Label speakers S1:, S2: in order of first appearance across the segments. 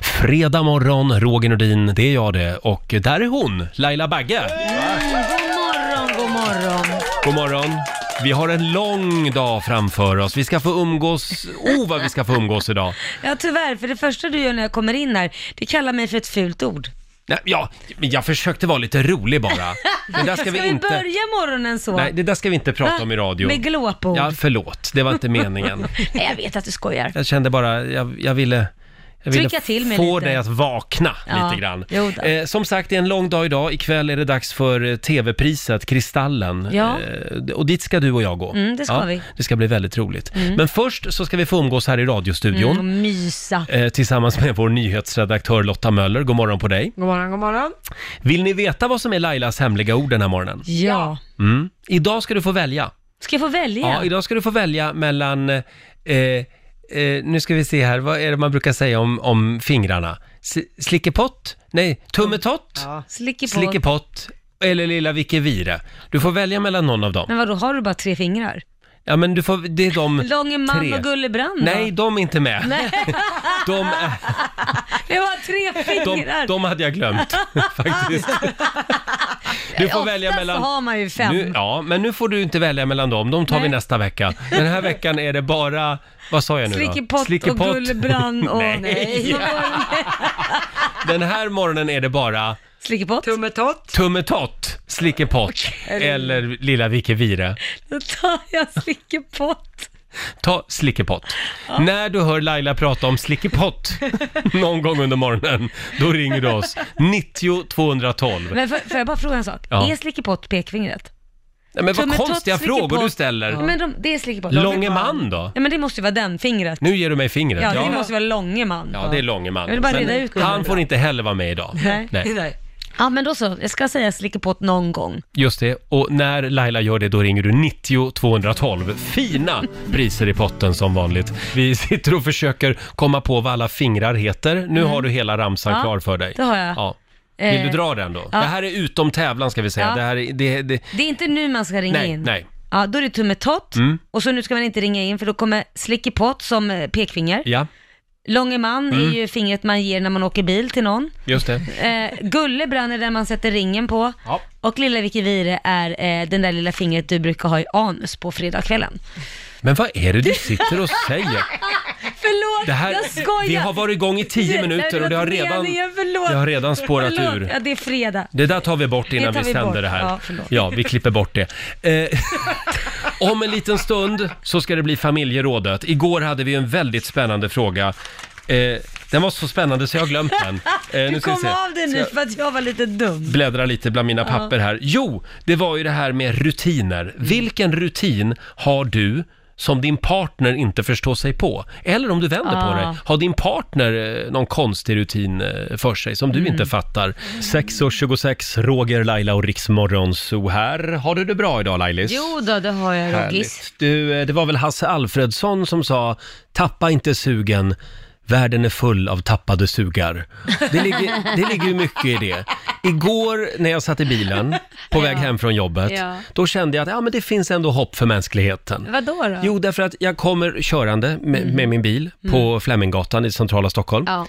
S1: Fredag morgon, Roger Nordin, det är jag det. Och där är hon, Laila Bagge.
S2: God morgon, god morgon.
S1: God morgon. Vi har en lång dag framför oss. Vi ska få umgås, oh vad vi ska få umgås idag.
S2: Ja, tyvärr, för det första du gör när jag kommer in här, det kallar mig för ett fult ord.
S1: Nej, ja, men jag försökte vara lite rolig bara. Men där ska vi inte...
S2: börja morgonen så?
S1: Nej, det där ska vi inte prata
S2: Va?
S1: om i radio.
S2: Med glåpord?
S1: Ja, förlåt. Det var inte meningen.
S2: Nej, jag vet att du skojar.
S1: Jag kände bara, jag, jag ville... Jag ville
S2: Trycka till mig
S1: få
S2: lite.
S1: dig att vakna
S2: Ja,
S1: lite grann.
S2: jo då.
S1: Eh, som sagt, det är en lång dag idag. Ikväll är det dags för eh, TV-priset, Kristallen.
S2: Ja.
S1: Eh, och dit ska du och jag gå.
S2: Mm, det ska vi.
S1: Det ska bli väldigt roligt. Men först så ska vi få umgås här i radiostudion
S2: Mm, och mysa.
S1: eh, tillsammans med vår nyhetsredaktör Lotta Möller. God morgon på dig.
S3: God morgon, god morgon.
S1: Vill ni veta vad som är Lailas hemliga ord den här morgonen?
S2: Ja.
S1: Mm. Idag ska du få välja.
S2: Ska jag få välja?
S1: Ja, idag ska du få välja mellan, eh, eh, nu ska vi se här, vad är det man brukar säga om, om fingrarna? S- slickepott? Nej, tummetott?
S3: Ja.
S2: Slickepott.
S1: Slickepott? Eller lilla Vicky Vire. Du får välja mellan någon av dem.
S2: Men vadå, har du bara tre fingrar?
S1: Ja, men du får, det är de
S2: Långe man
S1: Mm. tre.
S2: och Gullebrand
S1: Nej,
S2: då?
S1: de är inte med.
S2: Nej,
S1: De, är-
S2: jag har tre fingrar.
S1: de, de hade jag glömt faktiskt. Du får välja
S2: Oftast så
S1: mellan...
S2: har man ju fem.
S1: Nu, ja, men nu får du inte välja mellan dem. De tar vi
S2: Nej.
S1: nästa vecka. Den här veckan är det bara, vad sa jag nu då?
S2: Slickepott, och Gullebrand och...
S1: Nej. Den här morgonen är det bara
S2: Slickepott.
S3: Tummetott.
S1: tummetott, slickepott eller lilla Vicky Vire.
S2: Då tar jag slickepott.
S1: Ta slickepott. När du hör Laila prata om slickepott någon gång under morgonen, då ringer du oss. 90 212.
S2: Men får, får jag bara fråga en sak?
S1: Ja.
S2: Är slickepott pekfingret?
S1: Nej, men vad
S2: tummetott,
S1: konstiga frågor du
S2: slickepott.
S1: ställer.
S2: Men de, det är slickepott.
S1: Långe man då?
S2: Ja men det måste ju vara den, fingret.
S1: Nu ger du mig fingret.
S2: Ja, det
S1: Ja.
S2: måste vara långe man.
S1: Ja, det är Långeman.
S2: Jag vill bara
S1: Men
S2: reda ut det.
S1: han får inte heller vara med idag.
S2: Nej.
S3: Nej.
S2: Ja men då så, jag ska säga slickepott någon gång.
S1: Just det, och när Laila gör det då ringer du 90 212. Fina priser i potten som vanligt. Vi sitter och försöker komma på vad alla fingrar heter. Nu har du hela ramsan
S2: Mm. Ja,
S1: klar för dig.
S2: det har jag.
S1: Ja. Vill du
S2: Eh,
S1: dra den då? Det här är utom tävlan ska vi säga.
S2: Ja.
S1: Det här är, det, det,
S2: Det är inte nu man ska ringa
S1: nej, Mm.
S2: in.
S1: nej.
S2: Ja, då är det tummetott och så nu ska man inte ringa in för då kommer slickepott som eh, pekfinger.
S1: Ja, Mm.
S2: Långe man är ju fingret man ger när man åker bil till någon.
S1: just det.
S2: Eh, Gullebrand är den man sätter ringen på.
S1: Ja.
S2: Och lilla Vicky Vire är eh, den där lilla fingret du brukar ha i anus på fredagskvällen.
S1: Men vad är det du sitter och säger?
S2: Förlåt,
S1: Det här,
S2: jag skojar!
S1: vi har varit igång i tio minuter och det har redan,
S2: Meningen, förlåt.
S1: det har redan spårat
S2: förlåt.
S1: ur.
S2: Ja, det är fredag.
S1: Det där tar vi bort innan
S2: Det tar
S1: vi
S2: vi
S1: sänder
S2: bort.
S1: det här.
S2: Ja,
S1: Ja,
S2: förlåt.
S1: vi klipper bort det. Eh, om en liten stund så ska det bli familjerådet. Igår hade vi en väldigt spännande fråga. Eh, den var så spännande så jag har glömt den. Eh,
S2: Du
S1: ska vi
S2: kom
S1: se.
S2: av det
S1: Ska
S2: nu
S1: jag
S2: för att jag var lite dum.
S1: Bläddra lite bland mina papper här. Jo, det var ju det här med rutiner.
S2: Mm.
S1: Vilken rutin har du som din partner inte förstår sig på? Eller om du vänder på
S2: Ah.
S1: dig, har din partner eh, någon konstig rutin eh, för sig som du
S2: Mm.
S1: inte fattar? 6.26, Roger, Laila och Riksmorgon så här. Har du det bra idag Lailis?
S2: Jo då, det har jag Rogis.
S1: Härligt. Du, eh, det var väl Hasse Alfredsson som sa “Tappa inte sugen, världen är full av tappade sugar”. Det ligger, det ligger ju mycket i det. Igår när jag satt i bilen på väg hem från jobbet,
S2: Ja.
S1: då kände jag att ja, men det finns ändå hopp för mänskligheten.
S2: Vadå då?
S1: Jo, därför att jag kommer körande med, med min bil på Fleminggatan i centrala Stockholm.
S2: Mm. Ja.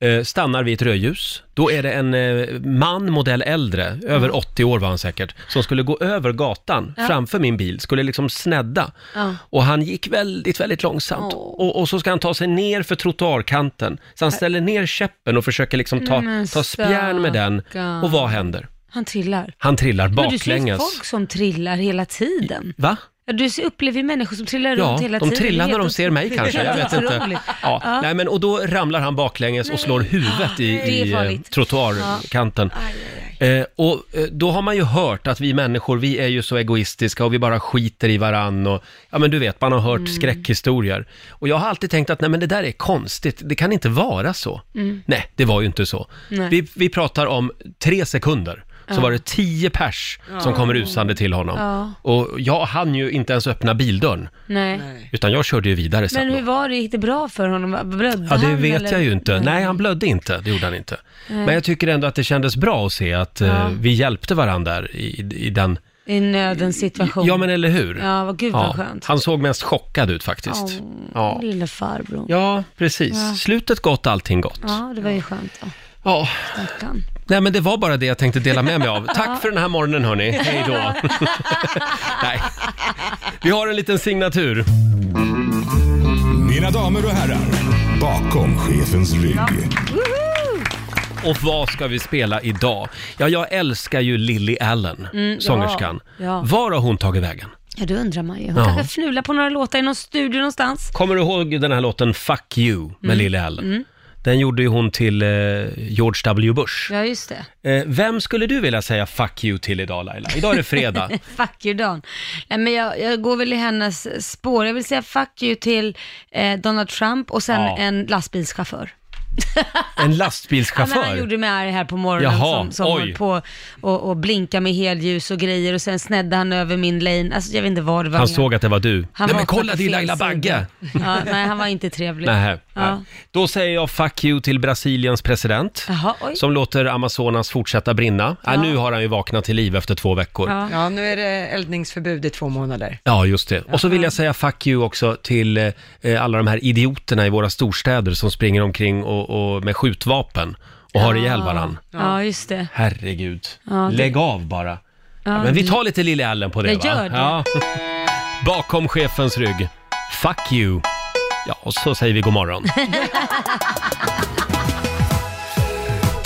S1: Eh, stannar vid ett rödljus. Då är det en eh, man, modell äldre, över 80 år var han säkert, som skulle gå över gatan framför min bil, skulle liksom snedda.
S2: Ja.
S1: Och han gick väldigt, väldigt långsamt.
S2: Åh.
S1: Och, och så ska han ta sig ner för trottoarkanten. Så han ställer ner käppen och försöker liksom ta,
S2: Men
S1: ta spjärn med den.
S2: stackarn.
S1: Och vad händer?
S2: Han trillar.
S1: Han trillar
S2: Men du ser ju
S1: baklänges.
S2: folk som trillar hela tiden.
S1: Va?
S2: Ja, Du ser- upplever ju människor som trillar
S1: Ja,
S2: runt hela
S1: de
S2: tiden. Det är
S1: trillar när
S2: helt
S1: de ser mig
S2: otroligt.
S1: kanske, jag
S2: Helt
S1: vet inte.
S2: otroligt.
S1: Ja.
S2: Ja.
S1: Nej, men, och då ramlar han baklänges och slår huvudet i,
S2: Det är
S1: i eh,
S2: farligt.
S1: trottoarkanten. Eh, och eh, då har man ju hört att vi människor, vi är ju så egoistiska och vi bara skiter i varann och, ja men du vet, man har hört
S2: Mm.
S1: skräckhistorier. Och jag har alltid tänkt att nej men det där är konstigt, det kan inte vara så. Nej, det var ju inte så.
S2: Mm. Nej.
S1: Vi, vi pratar om tre sekunder. Så var det tio pers som kom rusande till honom.
S2: Ja.
S1: Och jag hann ju inte ens öppna bildörren.
S2: Nej.
S1: Utan jag körde ju vidare sen.
S2: Men hur
S1: då.
S2: var det? Gick det bra för honom? Blödde
S1: Ja, det
S2: han,
S1: vet
S2: eller?
S1: jag ju inte. Nej, han blödde inte. Det gjorde han inte. Men jag tycker ändå att det kändes bra att se att eh,
S2: Ja.
S1: vi hjälpte varandra där i, i den
S2: I nödens situation.
S1: Ja, men eller hur?
S2: Ja, vad gud vad skönt.
S1: Han såg mest chockad ut faktiskt.
S2: Åh,
S1: Ja.
S2: lille farbror. Ja.
S1: Ja, precis.
S2: Ja.
S1: Slutet gott, allting gott.
S2: det var ju skönt då.
S1: Ja.
S2: Stackarn.
S1: Nej, men det var bara det jag tänkte dela med mig av. Tack för den här morgonen, hörni. Hej då. Nej. Vi har en liten signatur.
S3: Mina damer och herrar, bakom chefens rygg.
S1: Och vad ska vi spela idag? Ja, jag älskar ju Lily Allen,
S2: Mm, ja,
S1: sångerskan.
S2: ja.
S1: Var har hon tagit vägen?
S2: Ja, det undrar man ju. Hon
S1: Ja.
S2: kanske fnular på några låtar i någon studio någonstans. Mm.
S1: Kommer du ihåg den här låten Fuck You med Lily Allen? Den gjorde ju hon till eh, George W. Bush.
S2: Ja, just det.
S1: Eh, vem skulle du vilja säga fuck you till idag Laila? Idag är det fredag.
S2: fuck you Dan. Nej, men jag, jag går väl i hennes spår. Jag vill säga fuck you till eh, Donald Trump och sen
S1: Ja.
S2: en lastbilschaufför.
S1: En
S2: Ja, men han
S1: lastbilschaufför.
S2: gjorde mig arg här på morgonen
S1: Jaha,
S2: som, som
S1: oj.
S2: höll på och, och blinka med helljus och grejer och sen snedde han över min lane. Alltså jag vet inte vad det var.
S1: Han såg att det var du.
S2: Han
S1: nej men
S2: vaknade
S1: kolla,
S2: på
S1: det är
S2: fel
S1: Laila
S2: sida.
S1: Bagge!
S2: Ja, nej, han var inte trevlig.
S1: Nähä,
S2: Ja.
S1: nej. Då säger jag fuck you till Brasiliens president.
S2: Jaha, oj.
S1: Som låter Amazonas fortsätta brinna. Ja.
S2: Ja.
S1: nu har han ju vaknat till liv efter två veckor. Ja,
S2: Ja.
S4: Ja, nu är det eldningsförbud i två månader.
S1: just det. Och så vill jag säga fuck you också till eh, alla de här idioterna i våra storstäder som springer omkring och, och med skjutvapen och har ihjäl varann.
S2: ja, just det.
S1: Herregud.
S2: det-
S1: Lägg av bara. Ja, men vi tar lite Lily Allen på det
S2: Men
S1: va?
S2: gör det.
S1: Ja. Bakom chefens rygg. Fuck you. Ja, och så säger vi god morgon.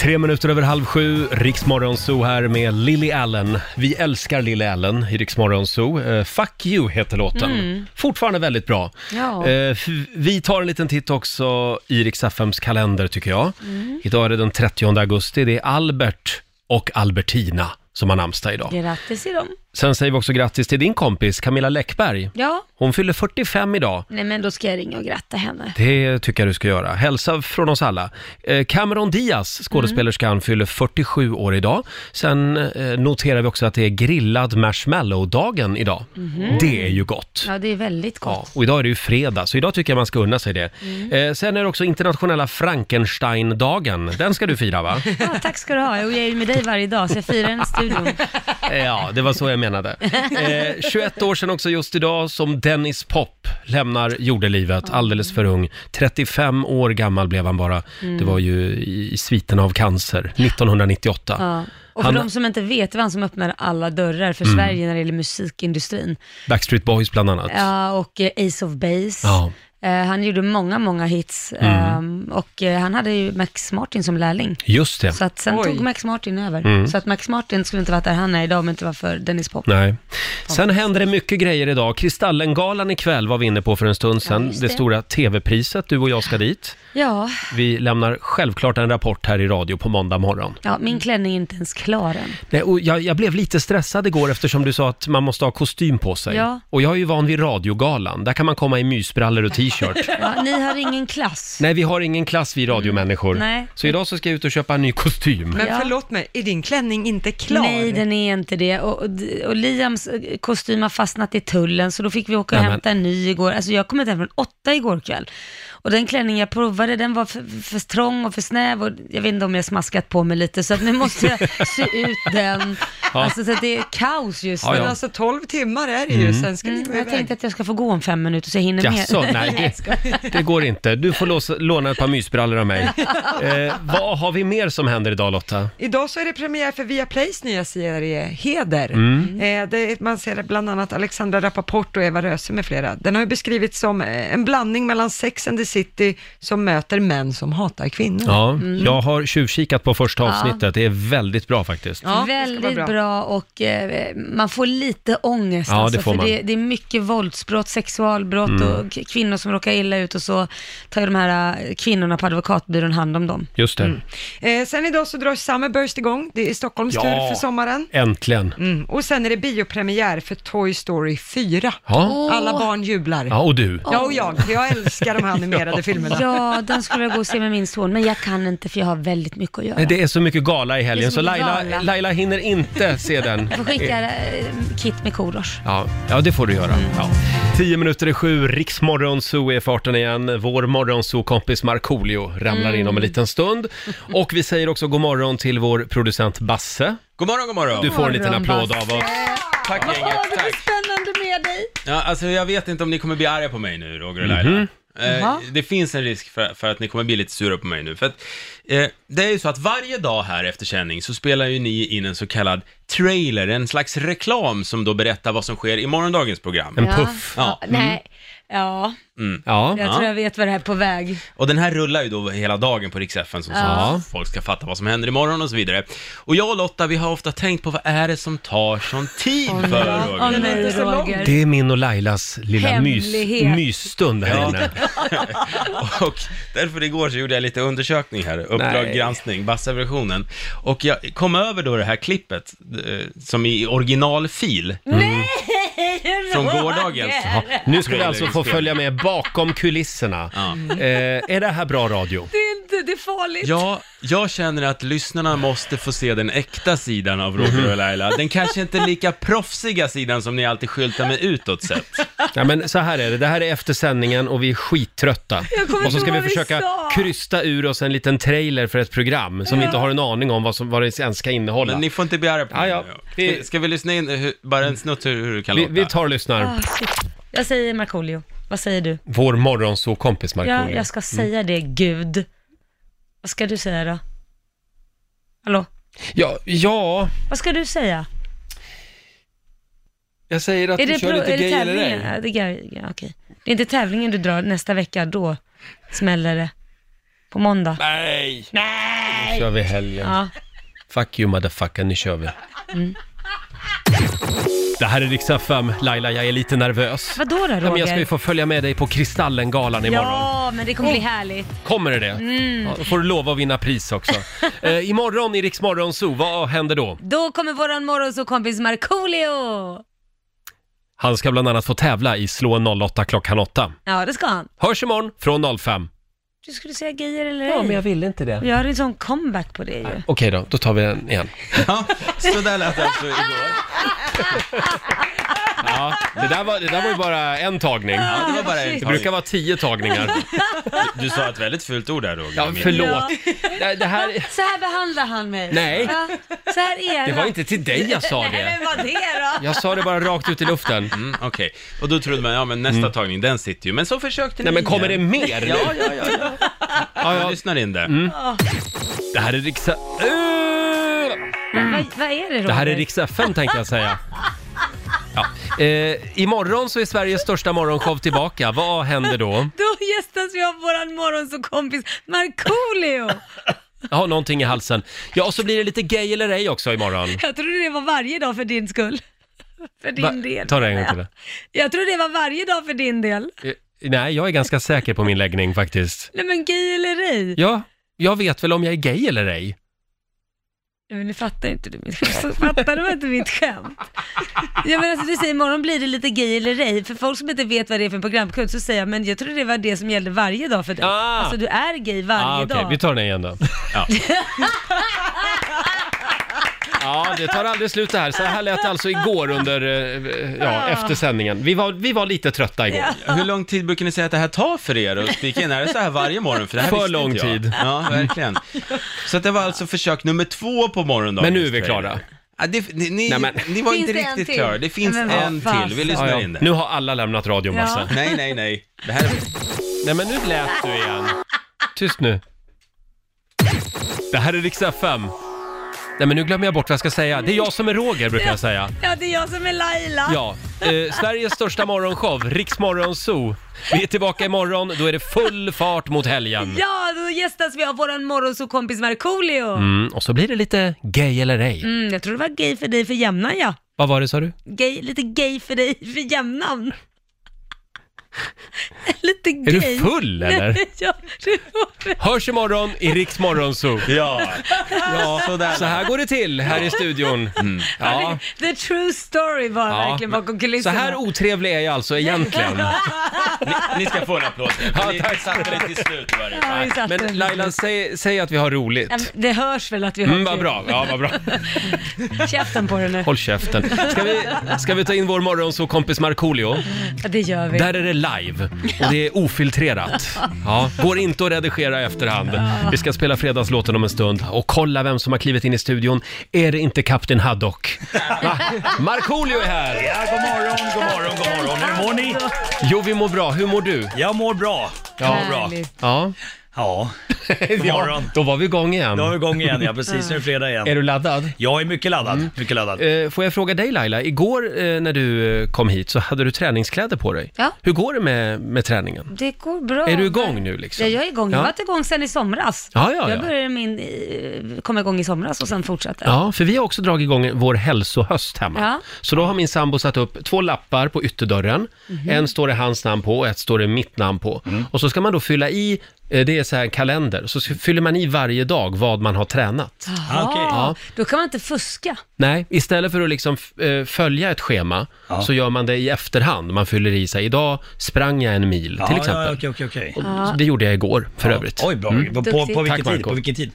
S1: Tre minuter över halv sju, Riksmorgon Zoo här med Lily Allen. Vi älskar Lily Allen i Riksmorgon Zoo. Eh, Fuck you heter låten.
S2: Mm.
S1: Fortfarande väldigt bra.
S2: Ja.
S1: Eh, f- vi tar en liten titt också i Rix FMs kalender tycker jag.
S2: Mm.
S1: Idag är det den 30 augusti. Det är Albert och Albertina som har namnsdag idag.
S2: Grattis till dem.
S1: Sen säger vi också grattis till din kompis Camilla Läckberg.
S2: Ja,
S1: Hon fyller 45 idag.
S2: nej men då ska jag ringa och gratta henne.
S1: Det tycker jag du ska göra. Hälsa från oss alla. Eh, Cameron
S2: Mm.
S1: Diaz, skådespelerskan, fyller 47 år idag. Sen eh, noterar vi också att det är grillad marshmallow-dagen idag.
S2: Mhm.
S1: Det är ju gott.
S2: Ja, det är väldigt
S1: Ja,
S2: gott. Mm.
S1: och idag är det ju fredag, så idag tycker jag man ska unna sig det. Eh, sen är det också internationella Frankenstein-dagen. Den ska du fira va?
S2: Ja, tack ska du ha. Jo, Jag är ju med dig varje dag, så jag firar den i studion.
S1: Eh, ja, det var så jag menade. Eh, 21 år sedan också just idag som Dennis Pop lämnar jordelivet alldeles för ung. 35 år gammal blev han bara.
S2: Mm.
S1: Det var ju i, i sviten av cancer, 1998.
S2: Ja. Och för
S1: Han- Mm.
S2: de som inte vet, det var han som öppnade alla dörrar för Sverige när det gäller musikindustrin.
S1: Backstreet Boys bland annat.
S2: Ja, och eh, Ace of Base.
S1: Ja. Mm.
S2: Eh, han gjorde många, många hits. ehm, och eh, han hade ju Max Martin som lärling.
S1: Just det. Mm.
S2: Så att sen
S4: Oj.
S2: tog Max Martin över. Så att Max Martin skulle inte varit där han är idag om det inte var för Dennis Pop.
S1: Nej. Sen händer det mycket grejer idag. Kristallengalan ikväll var vi inne på för en stund sedan.
S2: just
S1: det.
S2: det.
S1: stora tv-priset, du och jag ska dit.
S2: Ja,
S1: Vi lämnar självklart en rapport här i radio på måndag morgon.
S2: ja, min klänning är inte ens klar än.
S1: Nej, och jag, jag blev lite stressad igår eftersom du sa att man måste ha kostym på sig.
S2: Ja.
S1: Och jag är ju van vid radiogalan. Där kan man komma i mysbrallor och t-shirt.
S2: Ja, ni har ingen klass.
S1: Nej, vi har ingen klass vi radiomänniskor.
S2: Mm, nej.
S1: Så idag så ska jag ut och köpa en ny kostym.
S4: Men
S2: Ja.
S4: förlåt mig, är din klänning inte klar?
S2: Nej, den är inte det. Och, och, och Liams eh, kostym har fastnat i tullen, så då fick vi åka och
S1: Nämen.
S2: hämta en ny igår. Alltså jag kom inte hem från åtta igår kväll. Och den klänning jag provade, den var för, för trång och för snäv och jag vet inte om jag smaskat på mig lite, så att nu måste jag sy ut den. Alltså så att det är kaos just nu.
S1: Ja,
S4: Men
S1: ja.
S4: alltså 12 timmar är det ju, sen ska ni gå
S2: Mm, jag
S4: iväg.
S2: tänkte att jag ska få gå om fem minuter så jag hinner med.
S1: Jaså, nej det, det går inte. Du får låsa, låna ett par mysbrallor av mig. Eh, vad har vi mer som händer idag Lotta?
S4: Idag så är det premiär för Viaplays nya serie Heder.
S1: Mm.
S4: Eh, det, man ser bland annat Alexandra Rappaport och Eva Röse med flera. Den har ju beskrivits som eh, en blandning mellan Sex and the City som möter män som hatar kvinnor.
S1: Ja,
S4: Mm.
S1: jag har tjuvkikat på första
S2: Ja.
S1: avsnittet. Det är väldigt bra faktiskt.
S4: Ja, det ska vara
S2: Väldigt bra.
S4: bra.
S2: och eh, man får lite ångest. alltså,
S1: Ja, det får
S2: för
S1: man. Mm.
S2: Det, det är mycket våldsbrott, sexualbrott och k- kvinnor som råkar illa ut och så tar ju de här eh, kvinnorna på advokatbyrån hand om dem.
S1: Just det.
S4: Eh, sen idag så drar Summerburst igång, det är Stockholms
S1: Ja.
S4: tur för sommaren.
S1: Äntligen.
S4: Mm. Och sen är det biopremiär för Toy Story 4.
S1: Ja.
S4: Alla barn jublar.
S1: ja,
S4: Ja.
S1: och du.
S4: och jag, för jag älskar de här animerade filmerna.
S2: Ja, den skulle jag gå och se med min son, men jag kan inte för jag har väldigt mycket att göra.
S1: Nej, det är så mycket gala i
S2: Det
S1: helgen
S2: är
S1: så
S2: så mycket
S1: Laila,
S2: gala.
S1: Laila hinner inte se den.
S2: Jag får skicka Mm. eh, kit med Korosh.
S1: Ja, ja, det får du göra. Ja. Tio minuter i sju, Riksmorgonzoo är i farten igen. Vår morgonzoo-kompis Markoolio ramlar in om
S2: Mm.
S1: en liten stund. Och vi säger också god morgon till vår producent Basse.
S5: God morgon, god morgon.
S1: Du får en liten
S2: morgon,
S1: applåd
S2: Basse.
S1: av oss.
S5: tack
S2: Vad
S5: gänget.
S2: har du
S5: Tack.
S2: för spännande med dig?
S5: Ja, alltså jag vet inte om ni kommer bli arga på mig nu, Roger och Laila.
S1: Mhm.
S5: Eh,
S2: Jaha.
S5: Det finns en risk för, för att ni kommer bli lite sura på mig nu. För att, eh, det är ju så att varje dag här efter sändning så spelar ju ni in en så kallad trailer, en slags reklam som då berättar vad som sker i morgondagens program.
S1: En puff.
S5: Ja. Mm.
S2: Ja, nej, ja,
S1: mm. Ja.
S2: jag tror jag vet vad det här är på väg.
S5: Och den här rullar ju då hela dagen på Rix FM som
S1: Ja.
S5: ja. folk ska fatta vad som händer imorgon och så vidare. Och jag och Lotta, vi har ofta tänkt på vad är det som tar sån tid för Roger?
S2: Åh, nej,
S4: inte så lång.
S2: Roger.
S1: Det är min och Lailas lilla mys,
S2: Hemlighet.
S1: mysstund här
S5: Ja.
S1: inne.
S5: Och därför igår så gjorde jag lite undersökning här,
S1: Nej.
S5: Uppdrag granskning, Bassa-versionen. Och jag kom över då det här klippet, eh, som i originalfil,
S1: Mm.
S5: från gårdagens.
S1: Ja, nu ska vi alltså få följa med bakom kulisserna.
S5: Ja.
S1: Eh, är det här bra radio?
S2: Det är inte, det är farligt.
S5: Ja, jag känner att lyssnarna måste få se den äkta sidan av
S1: Mhm.
S5: Roger och Laila. Den kanske inte lika proffsiga sidan som ni alltid skyltar med utåt sett.
S1: Ja, men så här är det, det här är efter sändningen och vi är skittrötta.
S2: Jag kommer
S1: Och så
S2: inte
S1: ska vi
S2: ihåg vad vi
S1: försöka
S2: sa.
S1: krysta ur oss en liten trailer för ett program som vi inte har en aning om vad, som, vad det ens ska innehålla.
S5: Men ni får inte bli arga på
S1: Ja,
S5: mig
S1: ja.
S5: nu.
S1: Vi-
S5: Ska- Ska vi lyssna in hur, bara en snutt hur, hur det kan
S1: vi,
S5: låta?
S1: vi tar och lyssnar.
S2: Ah, shit. Jag säger Markoolio. Vad säger du?
S1: Vår morgonsåkompis Mm.
S2: Ja,
S1: Markoolio.
S2: jag ska säga det, Gud. Vad ska du säga då? Hallå?
S1: Ja, ja,
S2: Vad ska du säga?
S1: jag säger att
S2: Är
S1: vi
S2: det,
S1: kör
S2: pro-
S1: lite
S2: är det
S1: gay eller
S2: tävlingen?
S1: ej.
S2: Ja, det, är, ja, okej. det är inte tävlingen du drar nästa vecka, då smäller det. På måndag.
S1: Nej! Nej! Nu kör vi helgen.
S2: Ja.
S1: Fuck you motherfucker, nu kör vi.
S2: Mm.
S1: Det här är riksdag 5. Laila, jag är lite nervös.
S2: Vadå då Roger?
S1: Ja, men jag ska ju få följa med dig på Kristallengalan imorgon.
S2: Ja, Mm. men det kommer bli härligt.
S1: Kommer det det? Ja, då får du lova att vinna pris också. eh, imorgon i Rix Morgon Zoo, vad händer då?
S2: Då kommer våran morgonsåkompis Markoolio!
S1: Han ska bland annat få tävla i Slå en 08 klockan 8.
S2: Ja, det ska han.
S1: Hörs imorgon från 05.
S2: Du skulle säga grejer eller ej.
S1: ville inte det.
S2: Vi har en sån comeback på det ju.
S1: Okej då, då tar vi den igen.
S5: Ja, så där lät det alltså igår.
S1: Ja, det där var, det där var ju bara en tagning.
S5: Ja, det var bara en
S1: Det
S5: tagning.
S1: brukar vara tio tagningar.
S5: Du sa ett väldigt fult ord där Roger.
S1: Ja, förlåt. Det, det här...
S2: Så här behandlar han mig.
S1: Nej.
S2: Ja, så här är
S1: Det var inte till dig jag sa
S2: Nej,
S1: det.
S2: men vad det då?
S1: Jag sa det bara rakt ut i luften. Mm.
S5: Mm, Okej, och då trodde man, ja men nästa tagning, den sitter ju. Men så försökte ni
S1: Nej men kommer det
S5: igen.
S1: mer? Mm. Ja, ja, ja.
S5: Jag lyssnar in där.
S1: Det här är Riksa...
S2: Vad, vad är det Roger?
S1: Det här är Riksa 5 tänkte jag säga. Ja. Eh, imorgon så är Sveriges största morgonshow tillbaka. Vad händer då?
S2: Då gästas vi av våran morgonsåkompis Markoolio.
S1: Jag har någonting i halsen. Ja, och så blir det lite gay eller ej också imorgon.
S2: Jag trodde det var varje dag för din skull. För din
S1: Va?
S2: del.
S1: Ta det en gång till.
S2: Jag trodde det var varje dag för din del.
S1: Eh, nej, jag är ganska säker på min läggning faktiskt.
S2: Nej men gay eller ej.
S1: Ja, jag vet väl om jag är gay eller ej.
S2: Nej, Men nu fattar inte du mitt skämt. Fattar du inte mitt skämt? Jag menar, alltså, du säger imorgon blir det lite gay eller ej. För folk som inte vet vad det är för programkund så säger jag, men jag trodde det var det som gällde varje dag för dig.
S1: Ah.
S2: Alltså du är gay varje
S1: ah, okej,
S2: dag.
S1: Vi tar den igen då.
S5: Ja.
S1: Ja, det tar aldrig slut det här. Så här lät det alltså igår under, eh, ja, efter sändningen. Vi var, vi var lite trötta igår.
S5: Hur lång tid brukar ni säga att det här tar för er att spika in? Är det så här varje morgon? För, det här
S1: För
S5: visste
S1: lång
S5: inte jag.
S1: tid.
S5: Ja, verkligen. Så att det var alltså försök nummer två på morgondagen.
S1: Men nu är vi klara.
S5: Ja, det, ni,
S1: Nej,
S5: ni,
S1: men-
S5: ni var
S2: Finns
S5: inte
S2: det en
S5: riktigt
S2: till?
S5: klara. Det finns
S2: Nej, men vad
S5: en
S2: fasen.
S5: till. Vi
S1: Ja,
S5: lyssnar
S1: ja.
S5: in det.
S1: Nu har alla lämnat radion, Basse.
S2: Ja.
S5: Nej, nej, nej. Det här är...
S1: Nej, men nu lät du igen. Tyst nu. Det här är riksdag 5. Nej, men nu glömmer jag bort vad jag ska säga. Det är jag som är Roger, brukar jag säga.
S2: Ja, det är jag som är Laila.
S1: Ja, eh, Sveriges största morgonshow, Riksmorgon Zoo. Vi är tillbaka imorgon, då är det full fart mot helgen.
S2: Ja, då gästas vi av våran morgonsåkompis Markoolio. Mm.
S1: Mm, och så blir det lite gay eller ej.
S2: jag tror det var gay för dig för jämnan ja.
S1: Vad var det sa du?
S2: Gay, lite gay för dig för jämnan. lite
S1: Är
S2: gay.
S1: du full eller?
S2: ja, det var
S1: Hörs imorgon i Riks Morgonzoo.
S5: Ja,
S1: Ja,
S5: sådär. Mm.
S1: så här går det till här i studion. Ja.
S2: The true story var
S1: Ja.
S2: verkligen bakom
S1: Så
S2: kulisserna.
S1: här otrevlig är jag alltså egentligen.
S5: ni ska få en applåd.
S1: Ja,
S5: Ja, ni
S1: tack.
S5: satte det till slut. Var det.
S2: Ja, vi satt
S1: Men
S2: där.
S1: Laila, säg, säg att vi har roligt.
S2: Ja, men Det hörs väl att vi har
S1: Mm, vad
S2: kul.
S1: bra. Ja, vad bra.
S2: Käften på dig nu.
S1: Håll käften. Ska vi, ska vi ta in vår morgonsåkompis Markoolio?
S2: Ja, det gör vi.
S1: Där är det live live och det är ofiltrerat. Ja, går inte att redigera i efterhand. Vi ska spela fredagslåten om en stund och kolla vem som har klivit in i studion. Är det inte Kapten Haddock? Va? Markoolio är här!
S6: Ja, god morgon, god morgon, god morgon. Hur mår ni?
S1: Jo, vi mår bra. Hur mår du?
S6: Jag mår bra. Jag mår bra.
S2: Härligt.
S1: Ja,
S6: Ja, god
S1: ja
S6: morgon.
S1: då var vi igång igen.
S6: Då är vi igång igen. Ja, precis. Nu är det fredag
S1: Är
S6: igen.
S1: du laddad?
S6: Jag är mycket laddad. Mycket laddad.
S1: Eh, Får jag fråga dig Laila, igår eh, när du eh, kom hit så hade du träningskläder på dig.
S2: Ja.
S1: Hur går det med, med träningen?
S2: Det går bra.
S1: Är du igång nu liksom?
S2: Ja, jag är igång. Jag
S1: Ja.
S2: har varit igång sedan i somras.
S1: Ja, ja,
S2: jag
S1: ja.
S2: började min, eh, kom igång i somras och sen fortsatte.
S1: Ja, för vi har också dragit igång vår hälsohöst hemma.
S2: Ja.
S1: Så då har min sambo satt upp två lappar på ytterdörren.
S2: Mhm.
S1: En står det hans namn på och ett står det mitt namn på.
S6: Mm.
S1: Och så ska man då fylla i, eh, det är så här en kalender, så ska- fyller man i varje dag vad man har tränat.
S2: Jaha,
S6: Ah, okej. Ja.
S2: Då kan man inte fuska.
S1: Nej, istället för att liksom f- eh, följa ett schema
S6: Ja.
S1: så gör man det i efterhand. Man fyller i sig, idag sprang jag en mil till exempel.
S6: Ja, okej, okej, okej.
S1: Och Det gjorde jag igår för övrigt. Mm.
S6: Oj, bra. På, på,
S2: Duktigt.
S6: på, vilken
S1: Tack,
S6: tid?
S1: Marco.
S6: på vilken tid?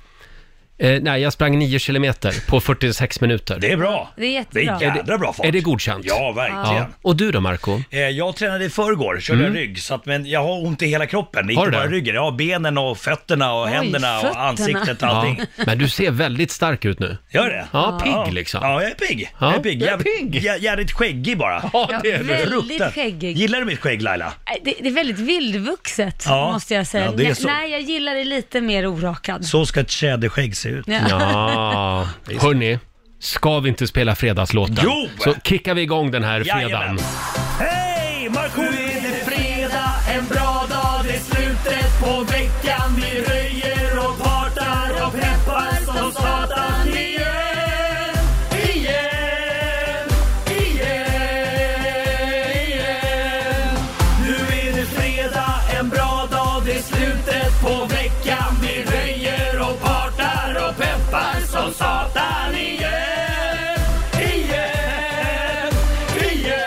S1: Eh, nej, jag sprang 9 kilometer på 46 minuter.
S6: Det är bra.
S2: Det är
S6: Det
S2: jättebra.
S6: är jädra bra fart.
S1: Är det godkänt?
S6: Ja, verkligen.
S1: Och du då Marco?
S6: Eh, Jag tränade i förrgår, körde rygg, så att, men jag har ont i hela kroppen.
S1: Mm. Har
S6: Inte
S1: du
S6: bara
S1: det?
S6: ryggen, jag har benen och fötterna och
S2: Oj,
S6: händerna
S2: fötterna.
S6: och ansiktet och allting.
S1: Men du ser väldigt stark ut nu.
S6: Gör det?
S1: Ja, pigg liksom.
S6: Ja, jag är pigg.
S1: Ja.
S6: Jag är pigg.
S1: Jag är
S6: Jävligt-
S1: pigg.
S6: jä- Jävligt skäggig bara.
S1: Ja, det är du.
S2: Väldigt
S6: Fruktan-
S2: skäggig.
S6: Gillar du mitt skägg Laila?
S2: Nej, Äh, Det, det är väldigt vildvuxet,
S6: Ja.
S2: måste jag säga.
S6: Ja, det är
S2: Nej,
S6: så.
S2: Nej, jag gillar det lite mer orakad.
S6: Så ska ett tjäderskägg se ut.
S2: Ja.
S1: Ja, hörni. Ska vi inte spela fredagslåten?
S6: Jo!
S1: Så kickar vi igång den här
S6: Jajamän.
S1: fredagen.
S6: Hej! Markoolio! Nu är det fredag, en bra dag, det är slutet på veckan. Vi röjer och partar och peppar som satan. Igen, igen, igen, igen. Nu är det fredag, en bra dag, det är slutet på veckan. Vi röjer och partar och peppar som satan. Igen, igen, igen,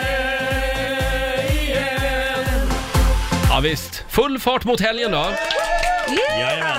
S6: igen.
S1: Ja, visst. Full fart mot helgen då.
S6: Jajamän.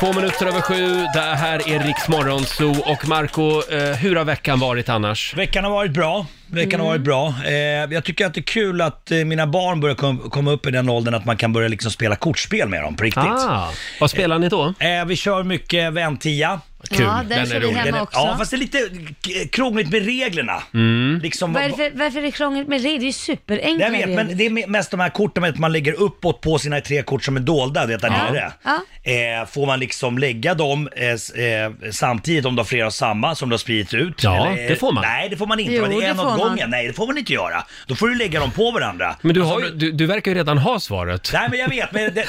S1: Två minuter över sju. Det här är Riks Morgonzoo. Och Marco, eh, hur har veckan varit annars?
S6: Veckan har varit bra. Veckan har varit
S1: Mm.
S6: bra. Eh, jag tycker att det är kul att eh, mina barn börjar kom, komma upp i den åldern att man kan börja liksom spela kortspel med dem på riktigt.
S1: Ah, vad spelar ni då?
S6: Eh, vi kör mycket väntia.
S1: Kul,
S2: Ja, den
S1: den
S2: kör
S1: är
S2: vi
S1: rolig.
S2: hemma
S6: Den är-
S2: också.
S6: Ja, fast det är lite k- krångligt med reglerna.
S1: Mm.
S6: Liksom, vad-
S2: Varför, varför är det krångligt med det? Det är ju
S6: Nej,
S2: superenkla
S6: Jag vet,
S2: regler.
S6: men det är mest de här korten med att man lägger uppåt på sina tre kort som är dolda, det där nere.
S2: Ja.
S6: Eh, får man liksom lägga dem eh, s- eh, samtidigt om du har flera av samma som du har spridit ut?
S1: Ja, det får man.
S6: Nej, det får man inte.
S2: Jo,
S6: men det
S2: det
S6: är en
S2: får
S6: åt
S2: man.
S6: gången. Nej, det får man inte göra. Då får du lägga dem på varandra. Alltså,
S1: Men du, har, ju- du, du verkar ju redan ha svaret.
S6: Nej men jag vet, men det,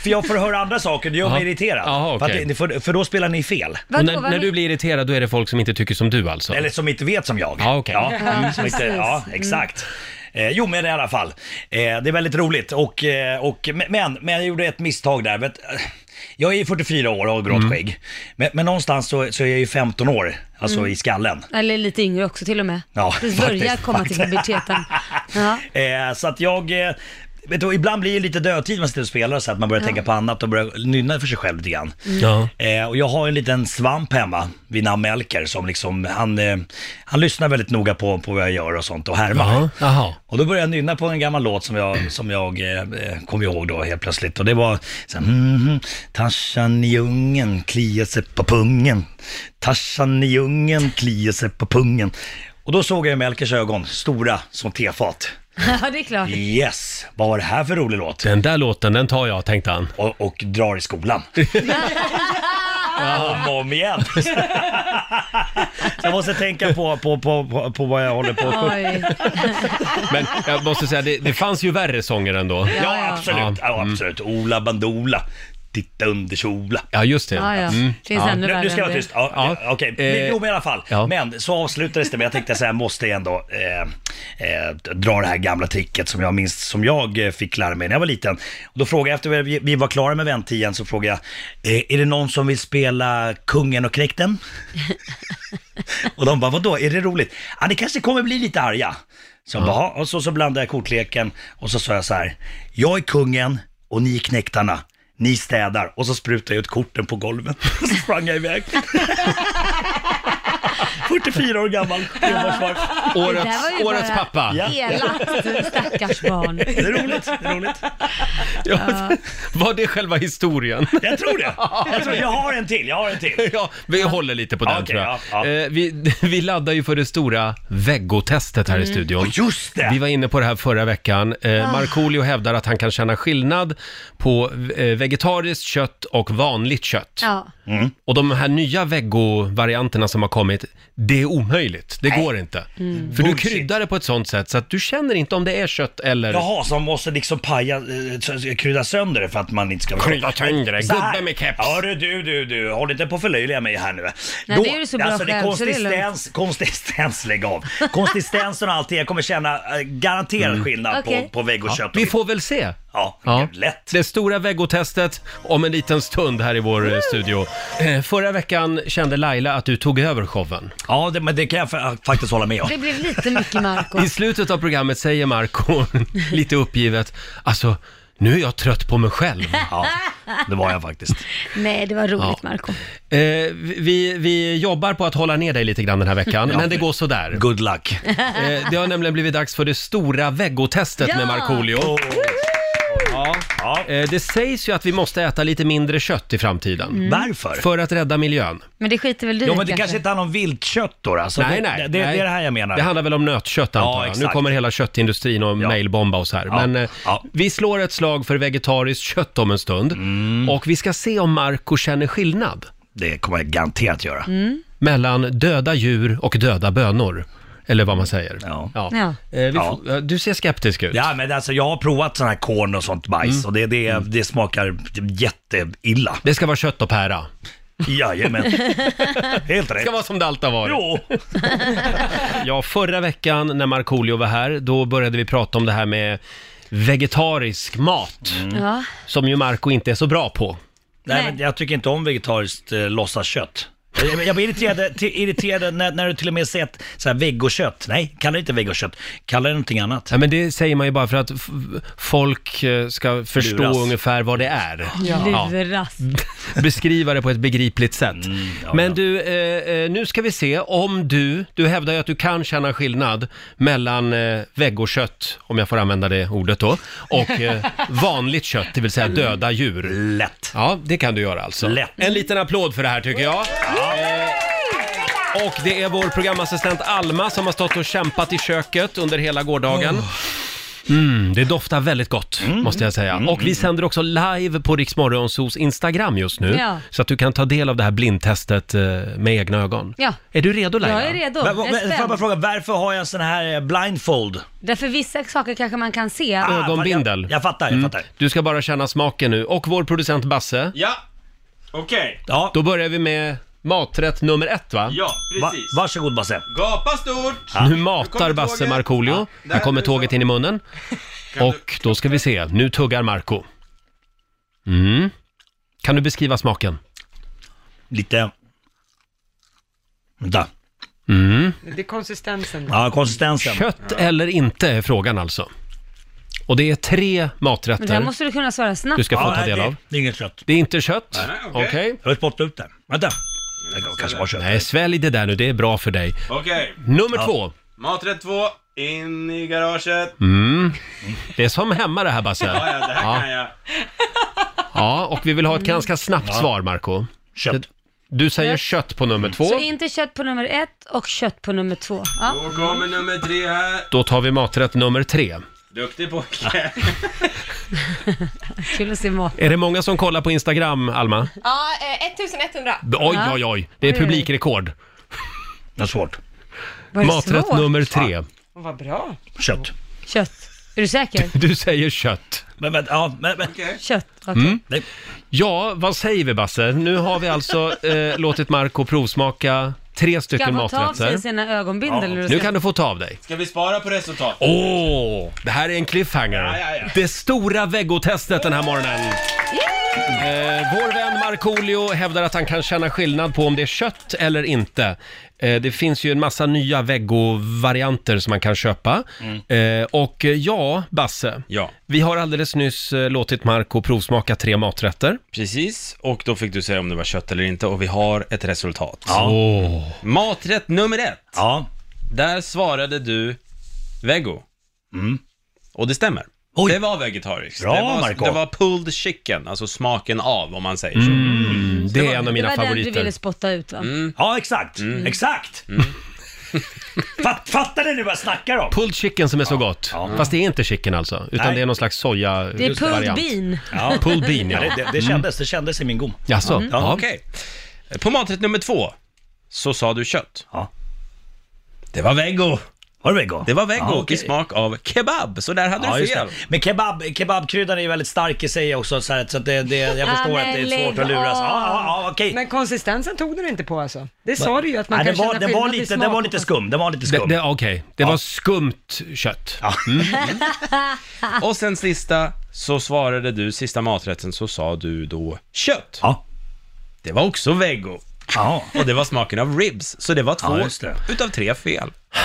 S6: för jag får höra andra saker, det gör mig
S1: Jaha.
S6: irriterad.
S1: Jaha,
S6: för, att,
S1: okej.
S6: det- för, för då spelar ni fel.
S1: Och
S2: Vadå,
S1: när,
S2: vad
S1: när
S2: men-
S1: du blir irriterad, då är det folk som inte tycker som du alltså?
S6: Eller som inte vet som jag.
S1: Ja, okej.
S6: ja, mm, som inte,
S2: precis.
S6: ja exakt. Eh, jo men i alla fall, eh, det är väldigt roligt och, eh, och men, men jag gjorde ett misstag där. Vet, eh, jag är ju 44 år och har grått skägg. Men, men någonstans så, så är jag ju 15 år, alltså i skallen.
S2: Eller lite yngre också till och med.
S6: Ja,
S2: det börjar
S6: faktiskt,
S2: komma till
S6: faktiskt.
S2: puberteten. Ja.
S6: Eh, så att jag, eh, vet du, ibland blir det lite dödtid när man sitter och spelar så att man börjar tänka på annat och börjar nynna för sig själv lite grann.
S1: Ja.
S6: Eh, och jag har en liten svamp hemma vid namn Melker som liksom, han, eh, han lyssnar väldigt noga på, på vad jag gör och sånt och härmar.
S1: Jaha. Jaha.
S6: Och då började jag nynna på en gammal låt som jag, som jag eh, eh, kom ihåg då helt plötsligt. Och det var så här, mhm, Tarzan i djungeln kliar sig på pungen. Tarzan i djungeln kliar sig på pungen. Och då såg jag Melkers ögon, stora som tefat.
S2: ja, det är klart.
S6: Yes, vad var det här för rolig låt?
S1: Den där låten, den tar jag, tänkte han.
S6: Och, och drar i skolan. Om och om igen. jag måste tänka på, på, på, på, på vad jag håller på att sjunga.
S2: Oj.
S1: Men jag måste säga, det, det fanns ju värre sånger ändå. mm.
S6: Ja,
S2: ja.
S6: absolut. Ja, absolut. Ola Bandola, titta under kjola.
S1: Ja, just det.
S2: Ja, ja.
S1: Mm.
S2: Finns ännu
S6: Nu,
S2: värre
S6: nu ska jag
S2: än
S6: vara
S2: det.
S6: tyst. Ja,
S1: Ja.
S6: ja, Okej,
S1: Eh,
S6: men jo men i alla fall.
S1: ja.
S6: Men så avslutades det med, jag tänkte så här, måste jag ändå eh, eh, dra det här gamla tricket som jag minns, som jag eh, fick lära mig när jag var liten. Och då frågade jag, efter vi, vi var klara med väntian, så frågade jag, eh, är det någon som vill spela Kungen och Knekten? och de bara, vadå, är det roligt? Ja, det kanske kommer bli lite arga. Så jag bara, "Jaha." och så, så blandade jag kortleken och så sa jag så här, jag är kungen och ni är knektarna. Ni städar och så sprutade jag ut korten på golvet och så sprang jag iväg. 44 år gammal enbarnsfarfar.
S2: Det där var
S1: Årets,
S2: ju
S1: årets
S2: bara
S1: pappa.
S2: Elakt, stackars barn.
S6: Det är roligt, det är roligt.
S1: Ja. Var det själva historien?
S6: Jag tror det. Jag, tror, jag har en till, jag har en till.
S1: Ja, vi håller lite på den
S6: Okej,
S1: tror jag.
S6: ja, ja.
S1: Eh, vi, vi laddar ju för det stora väggotestet här i studion.
S6: Mm. Just det! Ah.
S1: Vi var inne på det här förra veckan. Eh, Markoolio hävdar att han kan känna skillnad på eh, vegetariskt kött och vanligt kött.
S2: Ja.
S6: Mm.
S1: Och de här nya vego-varianterna som har kommit, det är omöjligt. Det går inte. För du
S6: Mm. Bullshit.
S1: kryddar det på ett sånt sätt så att du känner inte om det är kött eller...
S6: Jaha, så man måste liksom paja, eh, så- krydda sönder det för att man inte ska...
S1: Krydda sönder det,
S6: Så här.
S1: gubbe med keps.
S6: Ja du, du, du, du, håll inte på att förlöjliga mig här nu.
S2: Nej, det är du så bra
S6: alltså, det är
S2: själv, så det är lugnt.
S6: konsistens, konsistens, lägg av. Konsistensen och allt det, jag kommer känna eh, garanterad skillnad på,
S2: Okej.
S6: på vägg och kött.
S1: Mm. Vi får väl se.
S6: Ja, lätt.
S1: Det stora väggotestet om en liten stund här i vår eh, studio. Eh, Förra veckan kände Laila att du tog över showen.
S6: Ja, det, men det kan jag fa- faktiskt hålla med om.
S2: Det blev lite mycket Marco.
S1: I slutet av programmet säger Marco lite uppgivet, alltså nu är jag trött på mig själv.
S6: Ja, det var jag faktiskt.
S2: Nej, det var roligt
S1: Ja.
S2: Marco.
S1: Eh, vi, vi jobbar på att hålla ner dig lite grann den här veckan, men det går sådär.
S6: Good luck.
S1: Eh, det har nämligen blivit dags för det stora väggotestet
S2: Ja!
S1: med Markoolio. Ja.
S6: Oh. Ja.
S1: Eh, det sägs ju att vi måste äta lite mindre kött i framtiden.
S6: Mm. Varför?
S1: För att rädda miljön.
S2: Men det skiter väl du
S6: Ja,
S2: i
S6: men det kanske inte handlar om viltkött då? Alltså,
S1: nej,
S6: det,
S1: nej,
S6: det, det,
S1: nej.
S6: det är det här jag menar.
S1: Det handlar väl om nötkött antar jag. Nu
S6: exakt.
S1: kommer hela köttindustrin och
S6: Ja.
S1: mailbomba oss här. Men eh,
S6: Ja.
S1: vi slår ett slag för vegetariskt kött om en stund. Och vi ska se om Marco känner skillnad
S6: Mm. Det kommer jag garanterat göra.
S2: Mm.
S1: mellan döda djur och döda bönor. Eller vad man säger.
S6: Ja.
S2: Ja.
S1: Eh, vi
S6: Ja.
S1: får- eh, du ser skeptisk ut.
S6: Ja, men alltså, jag har provat sån här korn och sånt bajs och det, det, det smakar jätteilla.
S1: Mm. Det ska vara kött och pära.
S6: Jajamän. Helt
S1: Det
S6: rätt.
S1: ska vara som det alltid har varit.
S6: Jo.
S1: Ja, förra veckan när Markoolio var här, då började vi prata om det här med vegetarisk mat.
S6: Mm.
S2: Ja.
S1: Som ju Marco inte är så bra på.
S6: Nej,
S2: Nej.
S6: men jag tycker inte om vegetariskt eh, låtsaskött. Jag, jag blir irriterad, eh, till, irriterad när, när du till och med sett så här vegokött. Nej, kalla det inte vegokött. Kalla det någonting annat.
S1: Ja, men det säger man ju bara för att f- folk eh, ska förstå
S6: Luras.
S1: ungefär vad det är. Ja.
S2: Luras.
S6: Mm.
S1: Beskriva det på ett begripligt sätt.
S6: ja,
S1: men
S6: ja.
S1: du, eh, eh, nu ska vi se om du, du hävdar ju att du kan känna skillnad mellan eh, väggokött, om jag får använda det ordet då, och eh, vanligt kött, det vill säga döda djur.
S6: Lätt.
S1: Ja, det kan du göra alltså.
S6: Lätt.
S1: En liten applåd för det här tycker jag. Eh, Och det är vår programassistent Alma som har stått och kämpat i köket under hela gårdagen. Mm, det doftar väldigt gott,
S2: Mm.
S1: måste jag säga. Och vi sänder också live på Riksmorgonsos Instagram just nu.
S2: Ja.
S1: Så att du kan ta del av det här blindtestet eh, med egna ögon.
S2: Ja.
S1: Är du redo Laila?
S2: Jag är redo.
S6: Va- va-
S2: Jag är
S6: Får jag bara
S2: spänd.
S6: fråga, varför har jag en sån här eh, blindfold?
S2: Därför vissa saker kanske man kan se.
S6: Ah,
S1: Ögonbindel. Mm.
S6: Jag, jag fattar, jag fattar.
S1: Du ska bara känna smaken nu. Och vår producent Basse,
S5: Ja, okej.
S6: Ja,
S1: då börjar vi med maträtt nummer ett va?
S5: Ja,
S6: va,
S5: precis.
S6: varsågod Basse.
S5: Gapa stort!
S1: Nu
S5: Nu
S1: matar
S5: kommer
S1: Basse
S5: tåget.
S1: Markoolio.
S5: Ja,
S1: Här
S5: där
S1: kommer
S5: är det
S1: tåget
S5: så.
S1: in i munnen. Och då ska vi se, nu tuggar Marco. Mm. Kan du beskriva smaken?
S6: Lite... Vänta.
S4: Det är konsistensen.
S6: Ja, konsistensen.
S1: Mm. Kött eller inte är frågan alltså. Och det är tre
S2: Men det här
S1: maträtter
S2: måste du kunna svara snabbt.
S1: du ska få
S6: ja,
S1: ta
S6: nej,
S1: del
S6: det-
S1: av.
S6: Det är inget kött.
S1: Det är inte kött.
S5: Nej,
S1: Okej.
S5: okej.
S6: Jag vill spotta ut det. Vänta. Det kanske var kött.
S1: Nej, svälj det där nu, det är bra för dig.
S5: Okej,
S1: Nummer två.
S5: maträtt två, in i garaget.
S1: Mm. Det är som hemma det här Basse.
S5: Ja, ja, det här
S1: Ja.
S5: kan jag.
S1: Ja, och vi vill ha ett
S2: Mm.
S1: ganska snabbt svar Marco.
S6: Kött.
S1: Du säger kött på nummer två.
S2: Så inte kött på nummer ett och kött på nummer två. Ja.
S5: Då kommer nummer tre här.
S1: Då tar vi maträtt nummer tre.
S5: Duktig pojke.
S2: Kul att se mat.
S1: Är det många som kollar på Instagram, Alma?
S7: Ja, eh, 1100.
S1: B- Oj,
S2: Ja.
S1: oj, oj. Det är
S2: Oj, oj.
S1: publikrekord.
S6: Det är svårt.
S2: Var det
S1: Maträtt
S2: svårt?
S1: nummer tre.
S4: Vad bra.
S6: Kött.
S2: Kött. Är du säker?
S1: Du säger kött.
S6: Men, men, ja, men, men.
S2: Kött. Okej.
S1: Mm,
S6: Nej.
S1: Ja, vad säger vi Basse? Nu har vi alltså eh, låtit Marco provsmaka tre
S2: Ska
S1: stycken
S2: man ta av sig
S1: maträtter.
S2: sina ögonbindel? eller
S1: Nu
S2: ska-
S1: kan du få ta av dig.
S5: Ska vi spara på resultat?
S1: Åh, det här är en cliffhanger.
S5: Ja, ja, ja.
S1: Det stora väggotestet den här morgonen.
S2: Yay!
S1: Eh, vår vän Markoolio hävdar att han kan känna skillnad på om det är kött eller inte. Eh, det finns ju en massa nya vego-varianter som man kan köpa. Eh, och eh, ja, Basse,
S5: Mm. Ja.
S1: vi har alldeles nyss eh, låtit Marco provsmaka tre maträtter.
S5: Precis, och då fick du säga om det var kött eller inte och vi har ett resultat.
S6: Ja.
S1: Åh.
S5: Maträtt nummer ett.
S6: Ja.
S5: Där svarade du vego. Och det stämmer.
S6: Oj.
S5: Det var vegetariskt.
S6: Bra,
S5: det, var,
S6: Marco.
S5: det var pulled chicken, alltså smaken av om man säger
S1: Det är en av
S2: Det
S1: mina
S2: var den du
S1: favoriter.
S2: ville spotta ut va?
S1: Mm.
S5: Mm.
S6: Ja, exakt. Exakt. Fatt, fattar ni nu vad jag snackar om?
S1: Pulled chicken som är så gott. Fast det är inte chicken alltså, utan
S6: Nej.
S1: det är någon slags soja
S2: Det är
S1: just
S2: pulled
S1: variant.
S2: bean.
S6: Ja.
S1: Pulled bean,
S6: Ja,
S1: ja. Mm.
S6: det, det, det kändes, det kändes i min gom.
S1: Jaså?
S2: Mm.
S5: så.
S1: Ja.
S5: Okej. På maträtt nummer två så sa du kött.
S6: Ja.
S5: Det var vego.
S6: Var det vego?
S5: Det var vego
S6: Ja, okej.
S5: i smak av kebab, så där hade
S6: Ja,
S5: du
S6: just
S5: fel.
S6: det. Men kebab, kebabkryddan är ju väldigt stark i sig också, så, här, så att det, det, jag
S2: Ah,
S6: förstår
S2: men
S6: att det är svårt
S2: lägg
S6: att luras.
S2: av.
S6: Ja, ja, ja, okej.
S4: Men konsistensen tog du inte på alltså? Det sa du ju att man
S6: Nej,
S4: kan
S6: den var,
S4: känna
S6: den var
S4: skillnad i
S6: lite,
S4: smak
S6: den var
S4: och
S6: lite skum, den var lite
S1: Det,
S6: skum.
S1: det, Okej, det var skumt kött.
S5: Mm. Och sen sista så svarade du, sista maträtten så sa du då kött.
S6: Ja.
S5: Det var också vego.
S6: Ja.
S5: Och det var smaken av ribs, så det var två
S6: Ja, just det.
S5: utav tre fel.
S6: ja.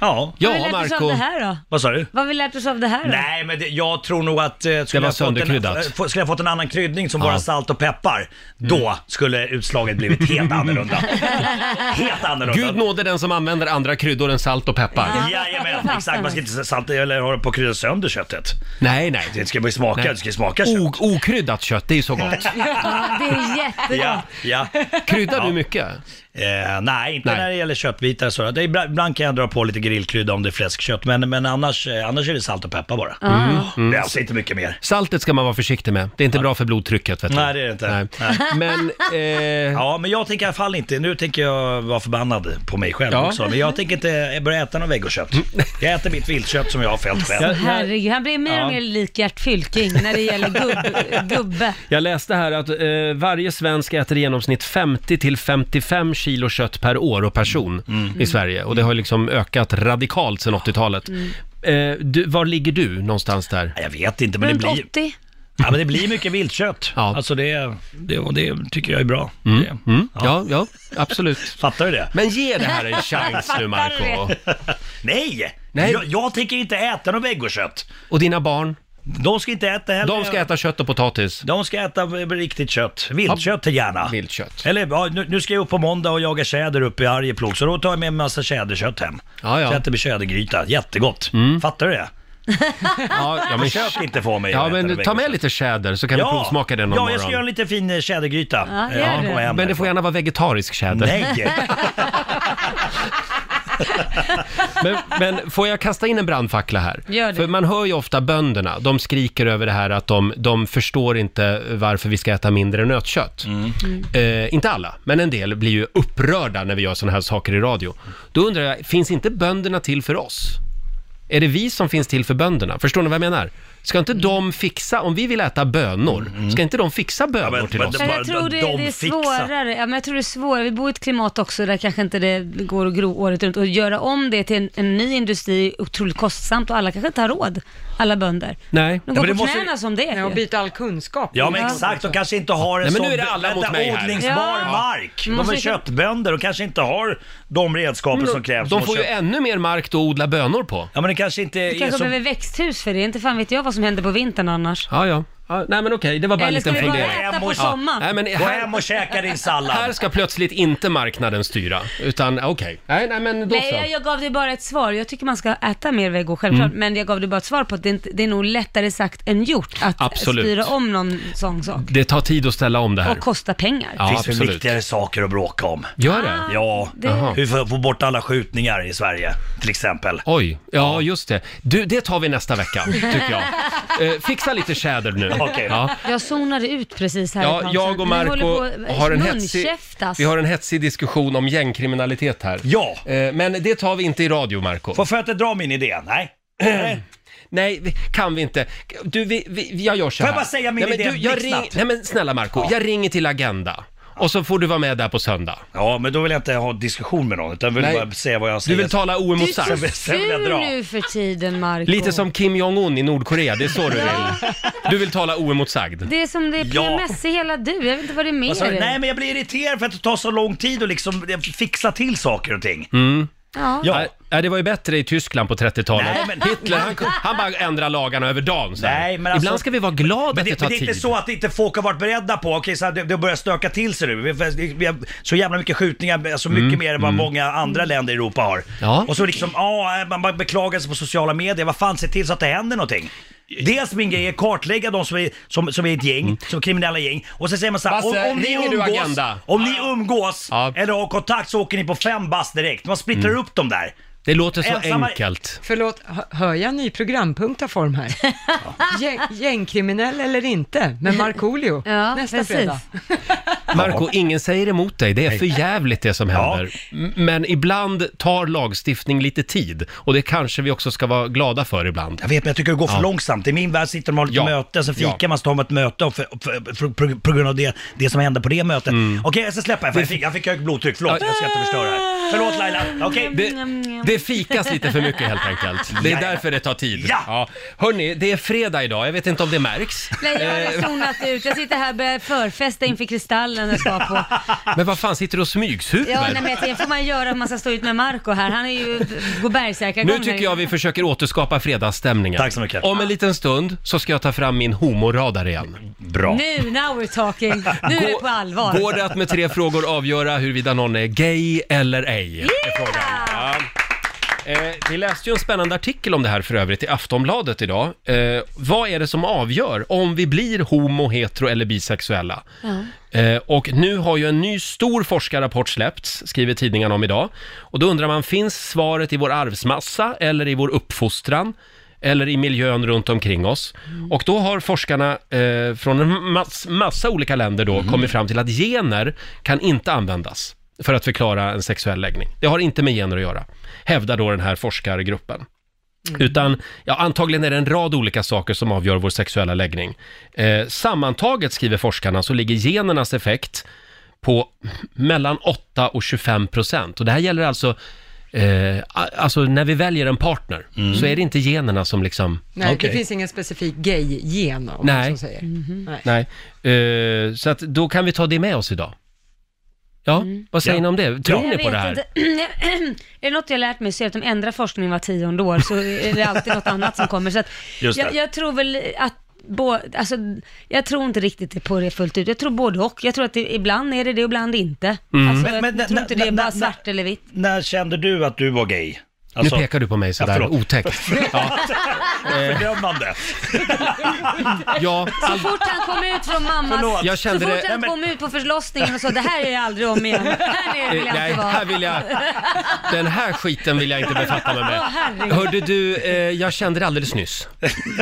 S2: Vad har
S1: Ja,
S2: vi lärt oss av
S1: Marco.
S2: det här då?
S6: Vad sa du?
S2: Vad har vi lärt oss av det här då?
S6: Nej, men det, jag tror nog att... Eh, skulle
S1: var
S6: jag fått en-
S1: sönderkryddat.
S6: eh, få- skulle jag fått en annan kryddning som bara salt och peppar,
S1: Mm.
S6: då skulle utslaget blivit helt annorlunda. helt annorlunda.
S1: Mm. Gud nåde den som använder andra kryddor än salt och peppar.
S6: Jajamän, exakt. Man ska inte salta eller hålla på och krydda sönder köttet.
S1: Nej, nej.
S6: Det ska ju smaka, det ska ju smaka kött.
S1: O- okryddat kött, det är ju så gott.
S2: Ja, det är jättegott.
S6: Ja, ja.
S1: Kryddar du mycket?
S6: Eh, nej, inte
S1: Nej.
S6: när det gäller köttbitar. Så. Det är, ibland- ibland kan jag dra på lite grillkrydda om det är fläskkött, men, men annars, eh, annars är det salt och peppar bara.
S1: Ah. Mm,
S6: Det är alltså inte mycket mer.
S1: Saltet ska man vara försiktig med. Det är inte bra för blodtrycket. Vet du.
S6: Nej, det är det inte.
S1: Men, eh,
S6: Ja, men jag tänker i alla fall inte, nu tänker jag vara förbannad på mig själv
S1: Ja.
S6: också, men jag tänker inte börja äta något vegokött. Jag äter mitt viltkött som jag har fällt själv.
S2: Alltså, Herregud, han blir mer och mer lik Gert Fylking när det gäller gubb, gubbe.
S1: jag läste här att eh, varje svensk äter i genomsnitt 50 till 55 kilo kött per år och person
S6: Mm.
S1: i Sverige. Och det har liksom ökat radikalt sedan 80-talet.
S2: Mm.
S1: Eh, du, var ligger du någonstans där?
S6: Nej, Jag vet inte, men det
S2: Runt
S6: blir,
S2: 80.
S6: ja, men det blir mycket viltkött.
S1: Ja.
S6: Alltså det, det, och det tycker jag är bra. Det,
S1: Mm? Ja, ja, absolut.
S6: Fattar du det?
S1: Men ge det här en chans nu, Marco.
S6: Nej!
S1: Nej.
S6: Jag, jag tänker inte äta något vegokött.
S1: Och dina barn,
S6: De ska inte äta heller.
S1: de ska äta kött och potatis.
S6: De ska äta riktigt kött. Viltkött gärna.
S1: Viltkött.
S6: Eller ja, nu, nu ska jag upp på måndag och jaga tjäder uppe i Arjeplog, så då tar jag med en massa tjäderkött hem.
S1: Ja, ja.
S6: Så att det blir tjädergryta. Jättegott. Fattar du det?
S1: Ja, ja, men,
S6: Försök inte få mig att
S1: ja,
S6: äta det
S1: men ta med
S6: vegetariska.
S1: lite tjäder så kan vi provsmaka den någon
S6: Ja, jag
S1: morgon.
S6: ska göra en lite fin eh, tjädergryta.
S2: Ja,
S6: Eh,
S2: gör
S6: jag
S2: det.
S6: kommer hem
S1: Men det får
S6: därifrån.
S1: gärna vara vegetarisk tjäder.
S6: Nej!
S1: Men, men får jag kasta in en brandfackla här?
S2: Gör det.
S1: För man hör ju ofta bönderna, de skriker över det här att de, de förstår inte varför vi ska äta mindre nötkött.
S6: Mm.
S8: Mm.
S1: Eh, inte alla, men en del blir ju upprörda när vi gör sådana här saker i radio. Då undrar jag, finns inte bönderna till för oss? Är det vi som finns till för bönderna? Förstår ni vad jag menar? Ska inte de fixa, om vi vill äta bönor, ska inte de fixa bönor
S6: Mm. men-
S1: till
S6: men de-
S1: oss?
S2: Men
S6: bara
S2: jag tror det,
S6: de
S2: det är
S6: fixar.
S2: svårare. Ja, men jag tror det är svårare. Vi bor i ett klimat också där kanske inte det går att gro året runt. Och göra om det till en, en ny industri är otroligt kostsamt och alla kanske inte har råd, alla bönder.
S1: Nej.
S2: De
S6: men
S2: går
S6: det
S2: på
S6: måste-
S2: knäna som det är
S4: Ja, och
S2: ju.
S4: byta all kunskap.
S6: Ja men exakt, de kanske inte har en
S1: Nej, men nu
S6: sån
S1: är det alla mot
S6: vänta,
S1: mig här.
S6: odlingsbar
S2: Ja. Mm.
S6: mark. De
S2: Måste
S6: är
S2: vi-
S6: köttbönder och kanske inte har de redskapen som krävs.
S1: Mm. De
S6: för
S1: får ju
S6: att köpa-
S1: ännu mer mark då att odla bönor på.
S6: Ja men det kanske inte
S2: Vi
S6: är
S2: kanske
S6: som...
S2: behöver växthus för det. Inte fan vet jag vad som händer på vintern annars.
S1: alltså- Ja, ja. ja nej, men okej, det var bara en
S2: Eller ska
S1: liten
S2: vi bara
S1: fundering.
S6: fundering.
S2: äta på
S6: Ja.
S2: sommaren?
S1: Nej, men
S6: Gå
S1: här,
S6: hem och käka din
S1: här
S6: sallad.
S1: ska plötsligt inte marknaden styra, utan okej. Nej, nej, men då
S2: Nej, jag,
S1: så.
S2: jag gav dig bara ett svar. Jag tycker man ska äta mer vego, självklart.
S1: Mm.
S2: Men jag gav dig bara ett svar på att det, är inte, det är nog lättare sagt än gjort att
S1: Absolut.
S2: styra om någon sån sak.
S1: Det tar tid att ställa om det här.
S2: Och kosta pengar.
S1: Ja,
S6: Det finns väl
S1: absolut.
S6: viktigare saker att bråka om.
S1: Gör det?
S6: Ja,
S2: Ah, Det- Jaha.
S6: hur får få bort alla skjutningar i Sverige till exempel.
S1: Oj, ja just det. Du, det tar vi nästa vecka, tycker jag. Eh, fixa lite tjäder nu.
S6: Okej.
S1: Ja.
S2: Jag zonade ut precis här ett
S1: Ja,
S2: tag
S1: jag
S2: sedan.
S1: och
S2: Vi
S1: Marco
S2: håller på- alltså.
S1: har en, hetsig,
S2: munkäftas.
S1: vi har en hetsig diskussion om gängkriminalitet här.
S6: Ja.
S1: Eh, Men det tar vi inte i radio, Marco.
S6: Får jag inte dra min idé? Nej.
S1: Nej, vi- kan vi inte. Du, vi, vi, jag gör så
S6: Får
S1: här.
S6: jag bara säga min
S1: nej, men
S6: idé
S1: du, jag
S6: blixtsnabbt?
S1: ring, Nej men snälla Marco, jag ringer till Agenda. Och så får du vara med där på söndag.
S6: Ja, men då vill jag inte ha diskussion med någon, utan vill
S1: Nej.
S6: bara säga vad jag
S1: Du
S6: säger.
S1: vill tala
S2: Du
S1: oemotsagd.
S2: är så
S6: Sen vill jag dra.
S2: ful nu för tiden, Marco.
S1: Lite som Kim Jong-Un i Nordkorea, det är så du
S2: Ja.
S1: vill. Du vill tala oemotsagd.
S2: Det är som det är
S6: Ja.
S2: PMS i hela du, jag vet inte vad det är med
S6: Vad sa du?
S2: dig.
S6: Alltså, Nej, men jag blir irriterad för att det tar så lång tid att liksom fixa till saker och ting.
S1: Mm.
S2: ja.
S6: Ja.
S1: Nej, Nej, det var ju bättre i Tyskland på 30-talet.
S6: Nej, men-
S1: Hitler, han, han bara ändrar lagarna över dagen så här.
S6: Nej, men alltså-
S1: Ibland ska vi vara glada
S6: Men
S1: att det
S6: det,
S1: tar
S6: men det är
S1: tid.
S6: inte så att inte folk har varit beredda på, okej så här, det, det börjar stöka till sig nu. Vi, vi, vi har så jävla mycket skjutningar, alltså mycket mer än vad många andra länder i Europa har.
S1: Mm, Ja.
S6: Och så liksom, ja, man bara beklagar sig på sociala medier, vad fan, se till så att det händer någonting. Dels min grej är kartlägga de som är, som, som är ett gäng, som kriminella gäng. Och sen säger man så här,
S1: Mm. Basse,
S6: om, om ni
S1: ringer du
S6: umgås,
S1: Agenda?
S6: om ni umgås
S1: Ja. Mm.
S6: eller har kontakt så åker ni på fem bass direkt. Man splittrar upp dem där.
S1: Det låter så
S6: Ensamma-
S1: enkelt.
S4: Förlåt, hö- hör jag en ny programpunkt av form här? Gäng, gängkriminell eller inte, med Markoolio
S2: Ja,
S4: nästa
S2: precis.
S4: fredag.
S1: Marco, ingen säger emot dig. Det är för jävligt det som händer. M- Men ibland tar lagstiftning lite tid och det kanske vi också ska vara glada för ibland.
S6: Jag vet, men jag tycker det går för långsamt. I min värld sitter de och har lite
S1: Ja.
S6: möte, sen fikar
S1: Ja.
S6: man, så tar man ett möte och för, för, för, på- på grund av det, det som hände på det mötet.
S1: Mm.
S6: Okej, jag ska släppa här, för jag fick, jag fick högt blodtryck. Förlåt, jag ska inte förstöra här. Förlåt Laila, okej?
S1: Det, det fikas lite för mycket helt enkelt. Det är
S6: Ja, ja.
S1: därför det tar tid.
S6: Ja.
S1: Hörni, det är fredag idag. Jag vet inte om det märks. Eh,
S2: Nej, jag har redan zonat ut. Jag sitter här och börjar förfesta inför Kristallen jag ska på.
S1: Men vad fan, sitter du och
S2: Ja,
S1: smygsuper?
S2: nej, men det får man göra om man ska stå ut med Marco här. Han är ju, går bergsärkagång.
S1: Nu tycker jag vi försöker återskapa fredagsstämningen.
S6: Tack så mycket.
S1: Om en liten stund så ska jag ta fram min homoradar igen.
S6: Bra.
S2: Nu, now we're talking. Nu är det på allvar.
S1: Går det att med tre frågor avgöra huruvida någon är gay eller ej? Är frågan. Ja. Eh, vi läste ju en spännande artikel om det här för övrigt i Aftonbladet idag. Eh, vad är det som avgör om vi blir homo, hetero eller bisexuella? Eh, och nu har ju en ny stor forskarrapport släppts, skriver tidningarna om idag. Och då undrar man, finns svaret i vår arvsmassa eller i vår uppfostran? eller i miljön runt omkring oss. Och då har forskarna eh, från en mass, massa olika länder då kommit fram till att gener kan inte användas för att förklara en sexuell läggning. Det har inte med gener att göra, hävdar då den här forskargruppen.
S6: Mm.
S1: Utan, ja, antagligen är det en rad olika saker som avgör vår sexuella läggning. Eh, sammantaget, skriver forskarna, så ligger genernas effekt på mellan 8 och 25 procent. Och det här gäller alltså, eh, a- alltså när vi väljer en partner, så är det inte generna som liksom...
S4: Nej,
S6: Mm. Okej.
S4: det finns ingen specifik gay-gen om
S1: Nej.
S4: man så säger.
S2: Mhm.
S4: Nej.
S1: Nej. Eh, så att då kan vi ta det med oss idag. Ja, vad säger
S6: Ja.
S1: ni om det? Tror
S2: Mm. Jag
S1: ni på det
S2: vet
S1: här?
S2: inte. är det något jag lärt mig så är det att de ändrar forskning var tionde år, så är det alltid något annat som kommer. Så att
S6: Just det.
S2: jag, jag tror väl att Bå, alltså, jag tror inte riktigt på det fullt ut. Jag tror både och. Jag tror att det, ibland är det det och ibland inte.
S1: Mm.
S2: Alltså, jag
S6: Men- men-
S2: tror inte
S6: na-
S2: det är bara
S6: na- na-
S2: svart eller vitt.
S6: När kände du att du var gay? Alltså-
S1: nu pekar du på mig sådär
S6: förlåt.
S1: otäckt. Ja, Eh.
S6: Fördömande.
S1: ja all...
S2: Så fort han kom ut från mamma,
S6: Förlåt.
S1: Jag
S2: så
S1: kände
S2: fort
S1: det-
S2: han
S6: Nej,
S2: kom ut på förlossningen och sa det här är jag aldrig om igen, här nere vill
S1: Eh,
S2: jag
S1: Nej,
S2: inte
S1: här
S2: vara.
S1: vill jag... Den här skiten vill jag inte befatta mig med.
S2: Åh, herregud.
S1: Hörde du, eh, jag kände det alldeles nyss.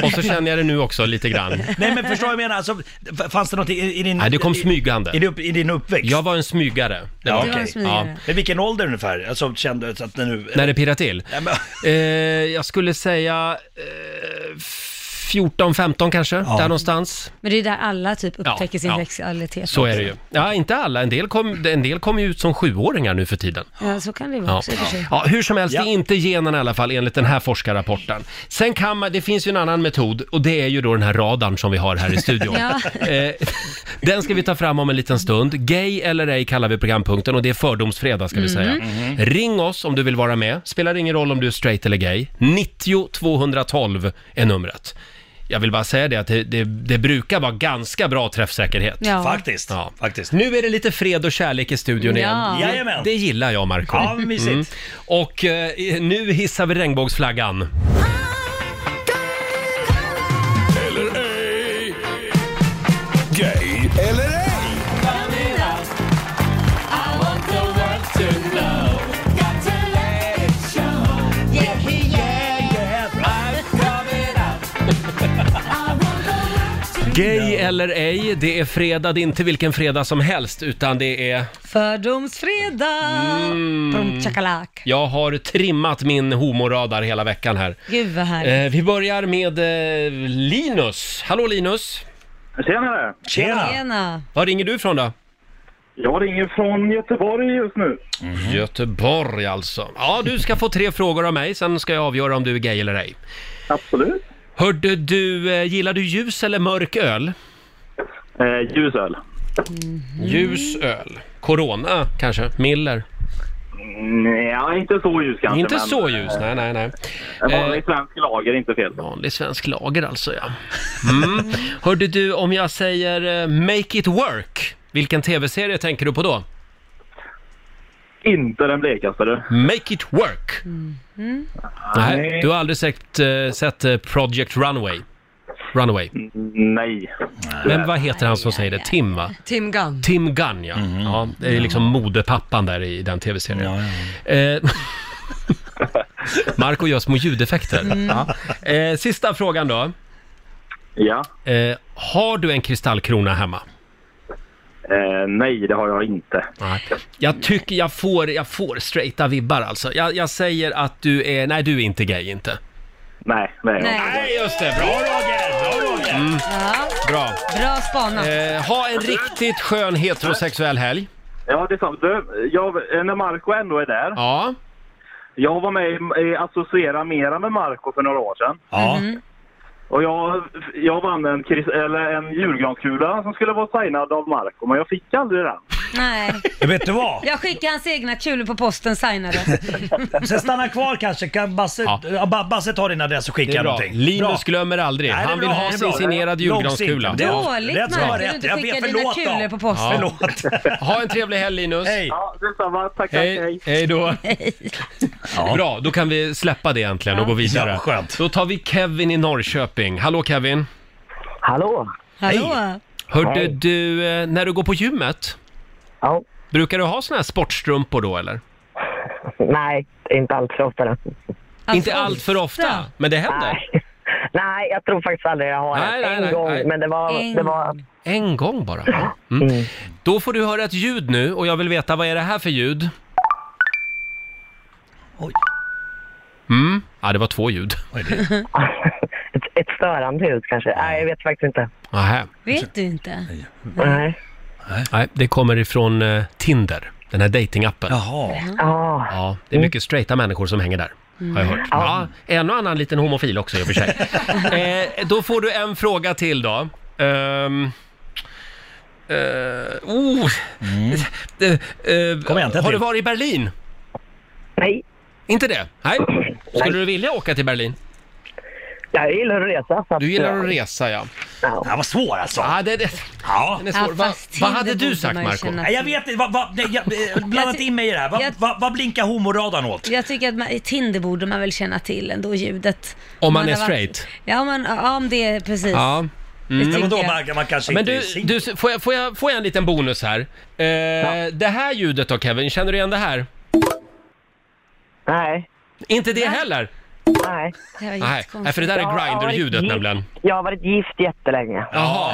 S1: Och så känner jag det nu också lite grann.
S6: Nej men förstår vad jag menar, alltså, f- fanns det något i, i din...
S1: Nej, det kom
S6: i- I,
S1: smygande.
S6: din upp, I din uppväxt?
S1: Jag var en smygare. Det
S6: Ja,
S1: var
S2: Det var
S6: okej.
S2: en smygare.
S6: Men vilken ålder ungefär? Alltså kände du att nu...
S1: När det pirrar till.
S6: Nej, men,
S1: Eh, jag skulle säga eh, 14, 15 kanske, där någonstans.
S2: Men det är där alla typ upptäcker
S1: Ja,
S2: sin
S1: ja.
S2: sexualitet.
S1: Så är det ju. Ja, inte alla. En del kom, en del kom ju ut som sjuåringar nu för tiden.
S2: Ja, så kan det vara
S1: Ja.
S2: också i och för sig.
S1: ja, hur som helst,
S6: Ja.
S1: det är inte generna i alla fall enligt den här forskarrapporten. Sen kan man, det finns ju en annan metod och det är ju då den här radarn som vi har här i studion.
S2: Ja.
S1: Eh, den ska vi ta fram om en liten stund. Gay eller ej kallar vi programpunkten och det är fördomsfredag ska vi säga.
S2: Mm. Mhm.
S1: Ring oss om du vill vara med. Spelar ingen roll om du är straight eller gay. 90 212 är numret. Jag vill bara säga det att det, det, det brukar vara ganska bra träffsäkerhet.
S2: Ja.
S6: Faktiskt,
S1: Ja.
S6: faktiskt.
S1: Nu är det lite fred och kärlek i studion igen.
S2: Ja.
S6: Jajamän.
S1: Det gillar jag, Marco.
S6: Ja, men mysigt.
S1: Och eh, nu hissar vi regnbågsflaggan.
S3: Eller ej. Gay eller ej.
S1: Gay eller ej, det är fredag. Det är inte vilken fredag som helst, utan det är...
S2: Fördomsfredag!
S1: Mm.
S2: Pum, chakalak.
S1: Jag har trimmat min homoradar hela veckan här.
S2: Gud vad härligt.
S1: Eh, vi börjar med eh, Linus. Hallå Linus!
S9: Tjenare!
S6: Tjena!
S2: Tjena!
S1: Var ringer du ifrån då?
S9: Jag ringer från Göteborg just nu.
S1: Mm-hmm. Göteborg alltså. Ja, du ska få tre frågor av mig, sen ska jag avgöra om du är gay eller ej.
S9: Absolut.
S1: Hörde du, eh, gillar du ljus eller mörk öl? Mm-hmm.
S9: Eh, ljusöl.
S1: Ljus öl. Corona kanske? Miller?
S9: Mm, ja, inte så ljus kanske.
S1: Inte
S9: men,
S1: så ljus,
S9: eh,
S1: nej nej nej.
S9: En
S1: Eh.
S9: vanlig svensk lager är inte fel.
S1: Vanlig svensk lager alltså ja. Mm. Hörde du, om jag säger eh, Make It Work, vilken tv-serie tänker du på då?
S9: Inte den blekaste du.
S1: Make It Work?
S6: Mm.
S1: Nej, du har aldrig sett, eh, sett eh, Project Runway? Runaway.
S9: Nej.
S1: Men vad heter han som säger det? Tim va?
S4: Tim Gunn.
S1: Tim Gunn ja. ja det är liksom modepappan där i den tv-serien.
S6: Ja, ja.
S1: Eh, Marco gör små ljudeffekter.
S4: Mm.
S1: Ja. Eh, sista frågan då.
S9: Ja.
S1: Eh, har du en kristallkrona hemma?
S9: Eh, nej, det har jag inte.
S1: Nej. Jag tycker jag får, jag får straighta vibbar alltså. Jag, jag säger att du är, nej du är inte gay inte.
S9: Nej, det är jag inte.
S2: Nej.
S1: just det, bra Roger! Bra,
S2: Ja,
S1: bra.
S2: bra spanat.
S1: Eh, ha en riktigt skön heterosexuell helg.
S9: Ja, det är sant. Du, jag, eh, när Marco ändå är där.
S1: Ja,
S9: Jag var med i, i Associera Mera med Marco för några år sedan.
S6: Ja,
S2: Mhm.
S9: Och jag, jag vann en, kris- eller en julgranskula som skulle vara signad av Marco, men jag fick aldrig den.
S1: Eh.
S2: Nej,
S6: vet du vad?
S2: jag skickar hans egna kulor på posten signade.
S6: Sen stanna kvar kanske, kan Basse,
S1: Ja.
S6: ja. Ba- Basse ta din adress och
S1: det
S6: skicka
S1: är bra.
S6: någonting.
S1: Linus glömmer aldrig.
S6: Nej, det är
S1: Han vill
S6: bra,
S1: ha
S6: det är
S1: sin
S6: bra.
S1: signerad julgranskula.
S6: Långsint. Ja,
S2: Dåligt,
S6: rätt svar,
S2: Marco,
S6: rätt.
S2: du inte
S6: Jag ber,
S2: skickar dina
S6: förlåt då.
S2: kulor på posten.
S1: Ja.
S6: Förlåt.
S1: Ha en trevlig helg Linus!
S6: Hej.
S9: Ja, detsamma. Tack,
S1: Hej, hej då! Bra, då kan vi släppa det äntligen och gå vidare.
S6: Ja, skönt.
S1: Då tar vi Kevin i Norrköping. Hallå Kevin!
S9: Hallå!
S2: Hallå?
S1: Hörde
S9: Hej.
S1: du, eh, när du går på gymmet,
S9: Ja.
S1: brukar du ha såna här sportstrumpor då eller?
S10: Nej, inte allt för ofta.
S2: Alltså,
S1: Inte allt för ofta, men det händer.
S10: Nej, jag tror faktiskt aldrig jag har
S1: Nej,
S10: det.
S1: nej,
S10: En
S1: nej,
S10: gång,
S1: nej.
S10: men det var... Det var
S1: En gång bara. Mm. Då får du höra ett ljud nu och jag vill veta vad är det här för ljud?
S6: Oj.
S1: Mm. Ja, det var två ljud.
S6: Vad är det?
S10: ett, ett störande ljud kanske. Nej, jag vet faktiskt inte.
S1: Nähä.
S2: Vet du inte?
S6: Eh,
S10: Nej.
S1: Nej, det kommer ifrån eh, Tinder, den här datingappen. Ja.
S6: Jaha.
S10: Ja.
S1: det är mycket straighta människor som hänger där. Har
S6: Mm.
S1: jag hört. Ja, en och annan liten homofil också i och för sig. eh, då får du en fråga till då. Ehm, eh, oh. Eh, eh,
S6: Mm. Kom igen, ta
S1: har du
S6: till.
S1: varit i Berlin?
S10: Nej,
S1: Inte det? Nej. Skulle du vilja åka till Berlin?
S10: jag gillar att resa. Så att,
S1: Du gillar att resa, ja.
S6: Det här var svår alltså.
S1: Ah, det, det,
S6: Ja.
S1: den är
S2: Ja,
S1: svår. Va,
S2: fast
S1: vad
S2: Tinder
S1: hade du
S2: borde
S1: sagt,
S2: man ju
S1: Marco?
S2: känna
S6: Nej, jag vet inte, vad, vad, nej, jag, eh, blanda inte in mig i det här. Vad,
S2: Jag-
S6: vad, vad blinkar homoradarn åt?
S2: Jag tycker att man, i Tinder borde man väl känna till ändå ljudet.
S1: Om man är
S2: har varit-
S1: straight?
S2: Ja, om man, ja, om det är precis. Mm.
S1: Ja. Mm.
S2: Det
S6: Ja, Mm. men
S2: tycker
S6: då
S2: jag.
S6: man, man kanske
S1: Men
S6: inte
S1: du,
S6: är singel.
S1: du får, jag, får, jag, får jag en liten bonus här? Eh, Det här ljudet då Kevin, känner du igen det här?
S10: Nej.
S1: Inte det heller?
S10: Nej.
S2: Det var
S1: Nej,
S2: jättekonstigt.
S1: Nej, för det där
S10: Jag
S1: är
S10: har varit
S1: Grindr-ljudet
S10: gift-
S1: nämligen.
S10: Jag har varit gift jättelänge.
S1: Jaha,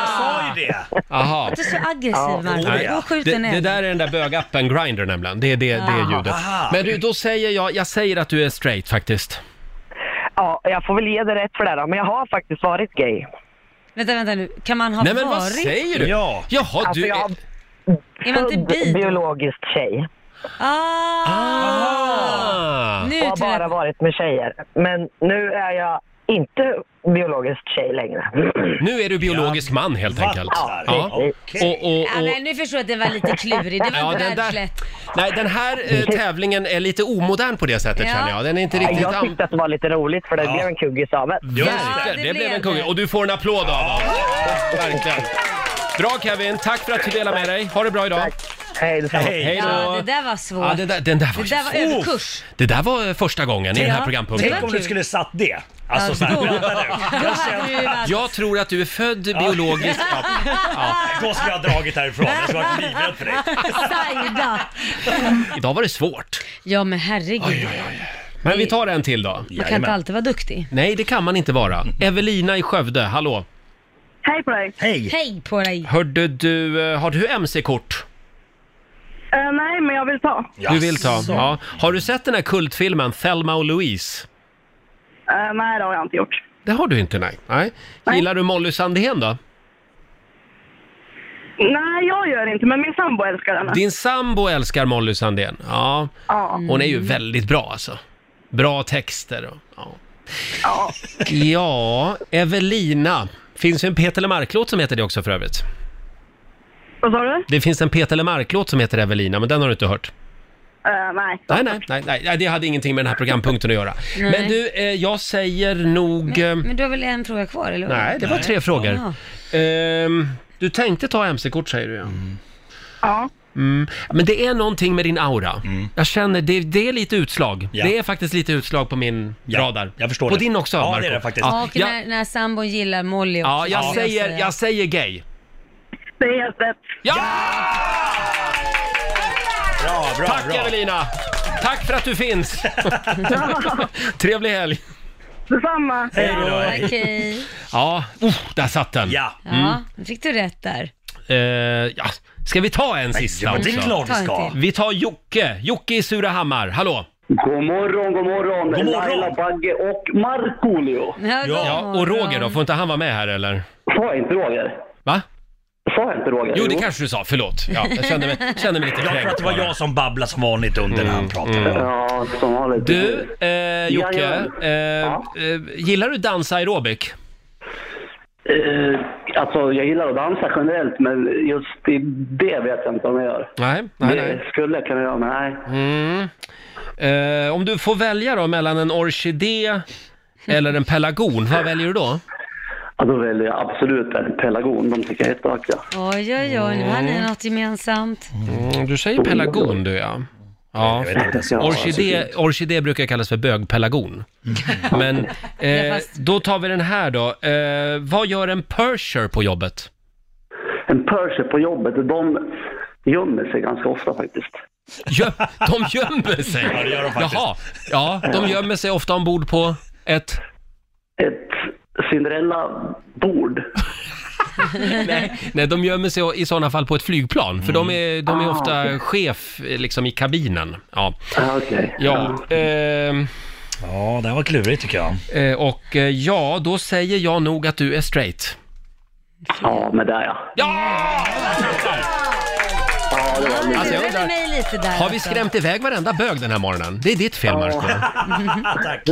S6: Jag sa ju det.
S1: jaha.
S2: Du är så aggressiv, Marco.
S6: Nej.
S2: Du har skjutit
S1: Det,
S2: en
S1: det
S2: älg.
S1: där är den där bögappen Grindr nämligen. Det är det, det är ljudet.
S6: Aha.
S1: Men du, då säger jag, jag säger att du är straight faktiskt.
S10: Ja, jag får väl ge dig rätt för det här då, men jag har faktiskt varit gay.
S2: Vänta, vänta nu. Kan man ha
S1: Nej men vad
S2: varit?
S1: säger du?
S6: Ja.
S1: Jaha,
S10: Alltså,
S1: du
S10: jag har
S1: är...
S2: Är man inte bi?
S10: född biologisk tjej
S2: Ah!
S1: Ah.
S2: Nu
S10: och har
S2: tror
S10: bara
S2: jag...
S10: varit med tjejer. Men nu är jag inte biologisk tjej längre.
S1: Nu är du biologisk man helt enkelt.
S6: Vattar.
S1: Ja.
S6: Okej.
S1: Och, och,
S2: Ja,
S1: och,
S2: men nu förstår jag att den var lite klurig. Det var
S1: Ja,
S2: inte
S1: den
S2: världslätt.
S1: där, nej, den här eh, tävlingen är lite omodern på det sättet
S2: Ja.
S1: känner jag. Den är inte riktigt...
S10: Jag
S1: an-
S10: tyckte att det var lite roligt för det blev en kuggis av det.
S6: Just
S1: Verkligen,
S2: Ja, det
S1: det, blev
S2: blev
S1: en kung.
S2: det.
S1: Och du får en applåd av oss. Verkligen. Bra Kevin, tack för att du delade med dig. Ha det bra idag.
S10: Hej, detsamma.
S6: Hej.
S1: Hej då.
S2: Ja, det där var svårt.
S1: Ja, det där, den där var,
S2: Det där var överkurs.
S1: det där var första gången i den här
S2: Ja.
S1: programpunkten.
S6: Tänk om du
S2: kul.
S6: skulle satt det. Alltså så här,
S2: då-
S6: vänta nu.
S2: Då hade du ju varit...
S1: Jag tror att du är född biologiskt. Ja.
S6: Då skulle jag ha dragit härifrån. Jag skulle ha varit livrädd för dig.
S2: Sajda.
S1: Idag var det svårt.
S2: Ja men herregud.
S1: Men vi tar en till då.
S2: Man kan inte
S6: Jajamän.
S2: alltid vara duktig.
S1: Nej, det kan man inte vara. Evelina i Skövde, hallå.
S11: Hej på dig.
S6: Hej.
S2: Hej på dig.
S1: Hörde du, eh, har du MC-kort?
S11: Eh, nej, men jag vill ta.
S1: Du vill ta? Ja. Har du sett den här kultfilmen Thelma och Louise?
S11: Eh, nej, det har jag inte gjort.
S1: Det har du inte, nej. nej. Gillar du Molly Sandén då?
S11: Nej, jag gör inte, men min sambo älskar den.
S1: Din sambo älskar Molly Sandén. Ja.
S11: Ja.
S1: Hon är ju väldigt bra alltså. Bra texter och, ja.
S11: Ja.
S1: ja, Evelina. Finns ju en Peter Lemark-låt som heter det också för övrigt.
S11: Vad sa du?
S1: Det finns en Peter Lemark-låt som heter Evelina, men den har du inte hört.
S11: Eh, nej.
S1: Nej, nej, nej, nej, nej, det hade ingenting med den här programpunkten att göra.
S2: Nej.
S1: Men du, eh, jag säger nog... eh,
S2: Men du har väl en fråga kvar, eller hur?
S1: Nej, det var tre frågor. Ehm, du tänkte ta mc-kort säger du ja.
S11: Ja.
S1: Mm. Men det är någonting med din aura. Jag känner, det, det är lite utslag.
S6: Mm. Ja.
S1: Det är faktiskt lite utslag på min radar. Jag förstår På
S6: det.
S1: din också,
S6: Ja, det
S1: Marco.
S6: är det faktiskt.
S1: Ja,
S2: Och
S1: jag,
S2: när, när sambon gillar Molly också.
S1: ja, jag,
S2: skulle
S1: säger,
S2: säga.
S1: jag säger gay.
S11: Det är helt rätt.
S6: Bra, bra,
S1: Tack
S6: bra.
S1: Evelina! Tack för att du finns! Trevlig helg!
S11: Detsamma.
S1: Hej då.
S2: Okej.
S1: Ja, oh, där satt den! Mm.
S6: Ja.
S2: Ja, nu fick du rätt där.
S1: Eh, ja. Ska vi ta en sista
S2: men
S1: också?
S2: det är klart vi Ta en ska. till.
S1: Vi tar Jocke, Jocke i Surahammar. Hallå!
S8: God morgon, god morgon!
S1: God morgon.
S8: Laila Bagge och Markoolio.
S2: Ja,
S1: Ja, och Roger då, får inte han vara med här eller?
S8: Sa jag inte Roger?
S1: Va?
S8: Sa jag inte Roger?
S1: Jo, det kanske du sa, förlåt. Ja, jag kände mig, kände mig lite
S6: Jag tror att det var jag som babblade som vanligt under när
S1: Mm,
S6: han pratade.
S8: Mm. Ja, som vanligt.
S1: Du, eh, Jocke,
S8: Jajamän.
S1: eh, eh, gillar du dansa aerobic?
S8: Eh, alltså, jag gillar att dansa generellt, men just i det vet jag inte om jag gör.
S1: Nej, nej,
S8: det
S1: nej.
S8: skulle jag kunna göra, men nej.
S1: Mm. Eh, om du får välja då mellan en orkidé eller en pelargon, vad väljer du då?
S8: Ja, då väljer jag absolut en pelargon. De tycker jag är jättevackra.
S2: Oj, oj, oj, nu har ni något gemensamt.
S1: Mm, du säger pelargon du ja. Ja,
S6: Jag vet inte ens.
S1: orkidé, orkidé brukar kallas för bögpelargon. Men
S2: Ja,
S1: eh,
S2: fast-
S1: då tar vi den här då. Eh, vad gör en percher på jobbet?
S8: En perser på jobbet, de gömmer sig ganska ofta faktiskt.
S1: Göm, de gömmer sig?
S6: Ja, det gör de faktiskt.
S1: Jaha, ja, de gömmer sig ofta ombord på ett...
S8: Ett Cinderella-bord.
S1: Nej, de gömmer sig i sådana fall på ett flygplan, för de är, de är
S8: Ah,
S1: ofta
S8: okej.
S1: chef eh, liksom i kabinen. Ja,
S8: Ja, Okej.
S1: ja ehm,
S6: Ja, det här var klurigt tycker jag.
S1: eh, och eh, ja, då säger jag nog att du är straight.
S8: Ja, men där ja.
S1: Ja!
S8: Ja, det var
S2: Du
S8: lite...
S1: Alltså, jag
S2: lurade
S1: undrar-
S2: mig lite där.
S1: Har vi
S2: alltså.
S1: skrämt iväg varenda bög den här morgonen? Det är ditt fel, Marco.
S6: Tack.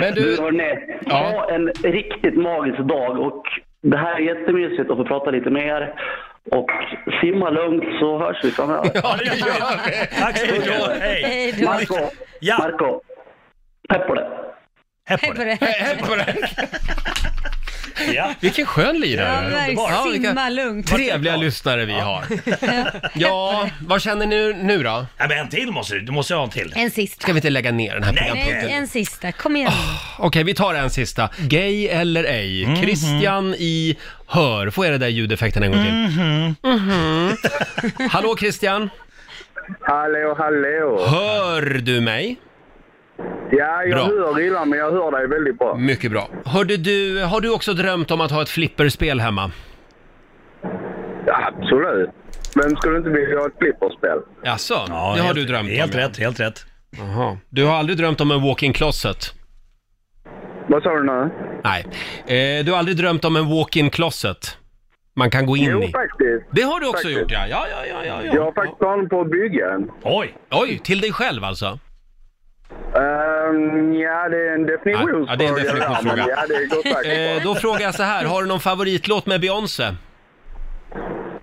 S1: Men du-
S8: hörni,
S1: Ja.
S8: ha en riktigt magisk dag och det här är jättemysigt att få prata lite med er. Och simma lugnt så hörs vi framöver.
S1: Ja, det gör vi.
S6: Tack så mycket. Hej.
S2: Hej då.
S8: Marco,
S6: Ja.
S8: Marco, pepp på det.
S6: Hej
S2: Hej
S6: på
S2: på
S6: dig.
S2: det.
S1: Hem på dig.
S6: Ja.
S1: Vilken skön
S2: Ja,
S1: lirare.
S2: verkligen.
S1: Ja, vilka
S2: Simma lugnt.
S1: trevliga lyssnare vi har. Ja, vad känner ni nu då?
S6: Nej, men en till måste du. Du måste ha en till.
S2: En sista.
S1: Ska vi inte Ah, lägga ner den här programpunkten?
S2: Nej, en sista. Kom igen.
S1: Okej, vi tar en sista. Gay eller ej?
S6: Mhm.
S1: Christian i Hör. Får jag det där ljudeffekten en gång till?
S2: Mm-hmm.
S6: Mm.
S1: Mhm. Hallå Christian!
S9: Hallå, hallå!
S1: Hör du mig?
S9: Ja, jag
S1: Bra.
S9: hör illa, men jag hör dig väldigt bra.
S1: Mycket bra. Hörde du, har du också drömt om att ha ett flipperspel hemma?
S9: Absolut. Vem skulle inte vilja ha ett flipperspel?
S1: Jaså,
S6: Ja,
S1: det har
S6: helt-
S1: du drömt
S6: Helt
S1: om? ja.
S6: rätt, helt rätt.
S1: Jaha. Du har aldrig drömt om en walk-in closet?
S9: Vad sa du nu?
S1: Nej. Eh, du har aldrig drömt om en walk-in closet? Man kan gå in
S9: Jo,
S1: i.
S9: faktiskt.
S1: Det har du också
S9: Faktiskt.
S1: gjort ja. Ja, ja, ja, ja, ja.
S9: Jag har faktiskt planer på att bygga en.
S6: Oj!
S1: Oj, till dig själv alltså?
S9: Ehm, ja, det är en definitionsfråga.
S1: Ja, det är en
S9: där,
S1: definitionsfråga.
S9: men Ja, det går
S1: Eh,
S9: säkert bra.
S1: då frågar jag så här, har du någon favoritlåt med Beyoncé?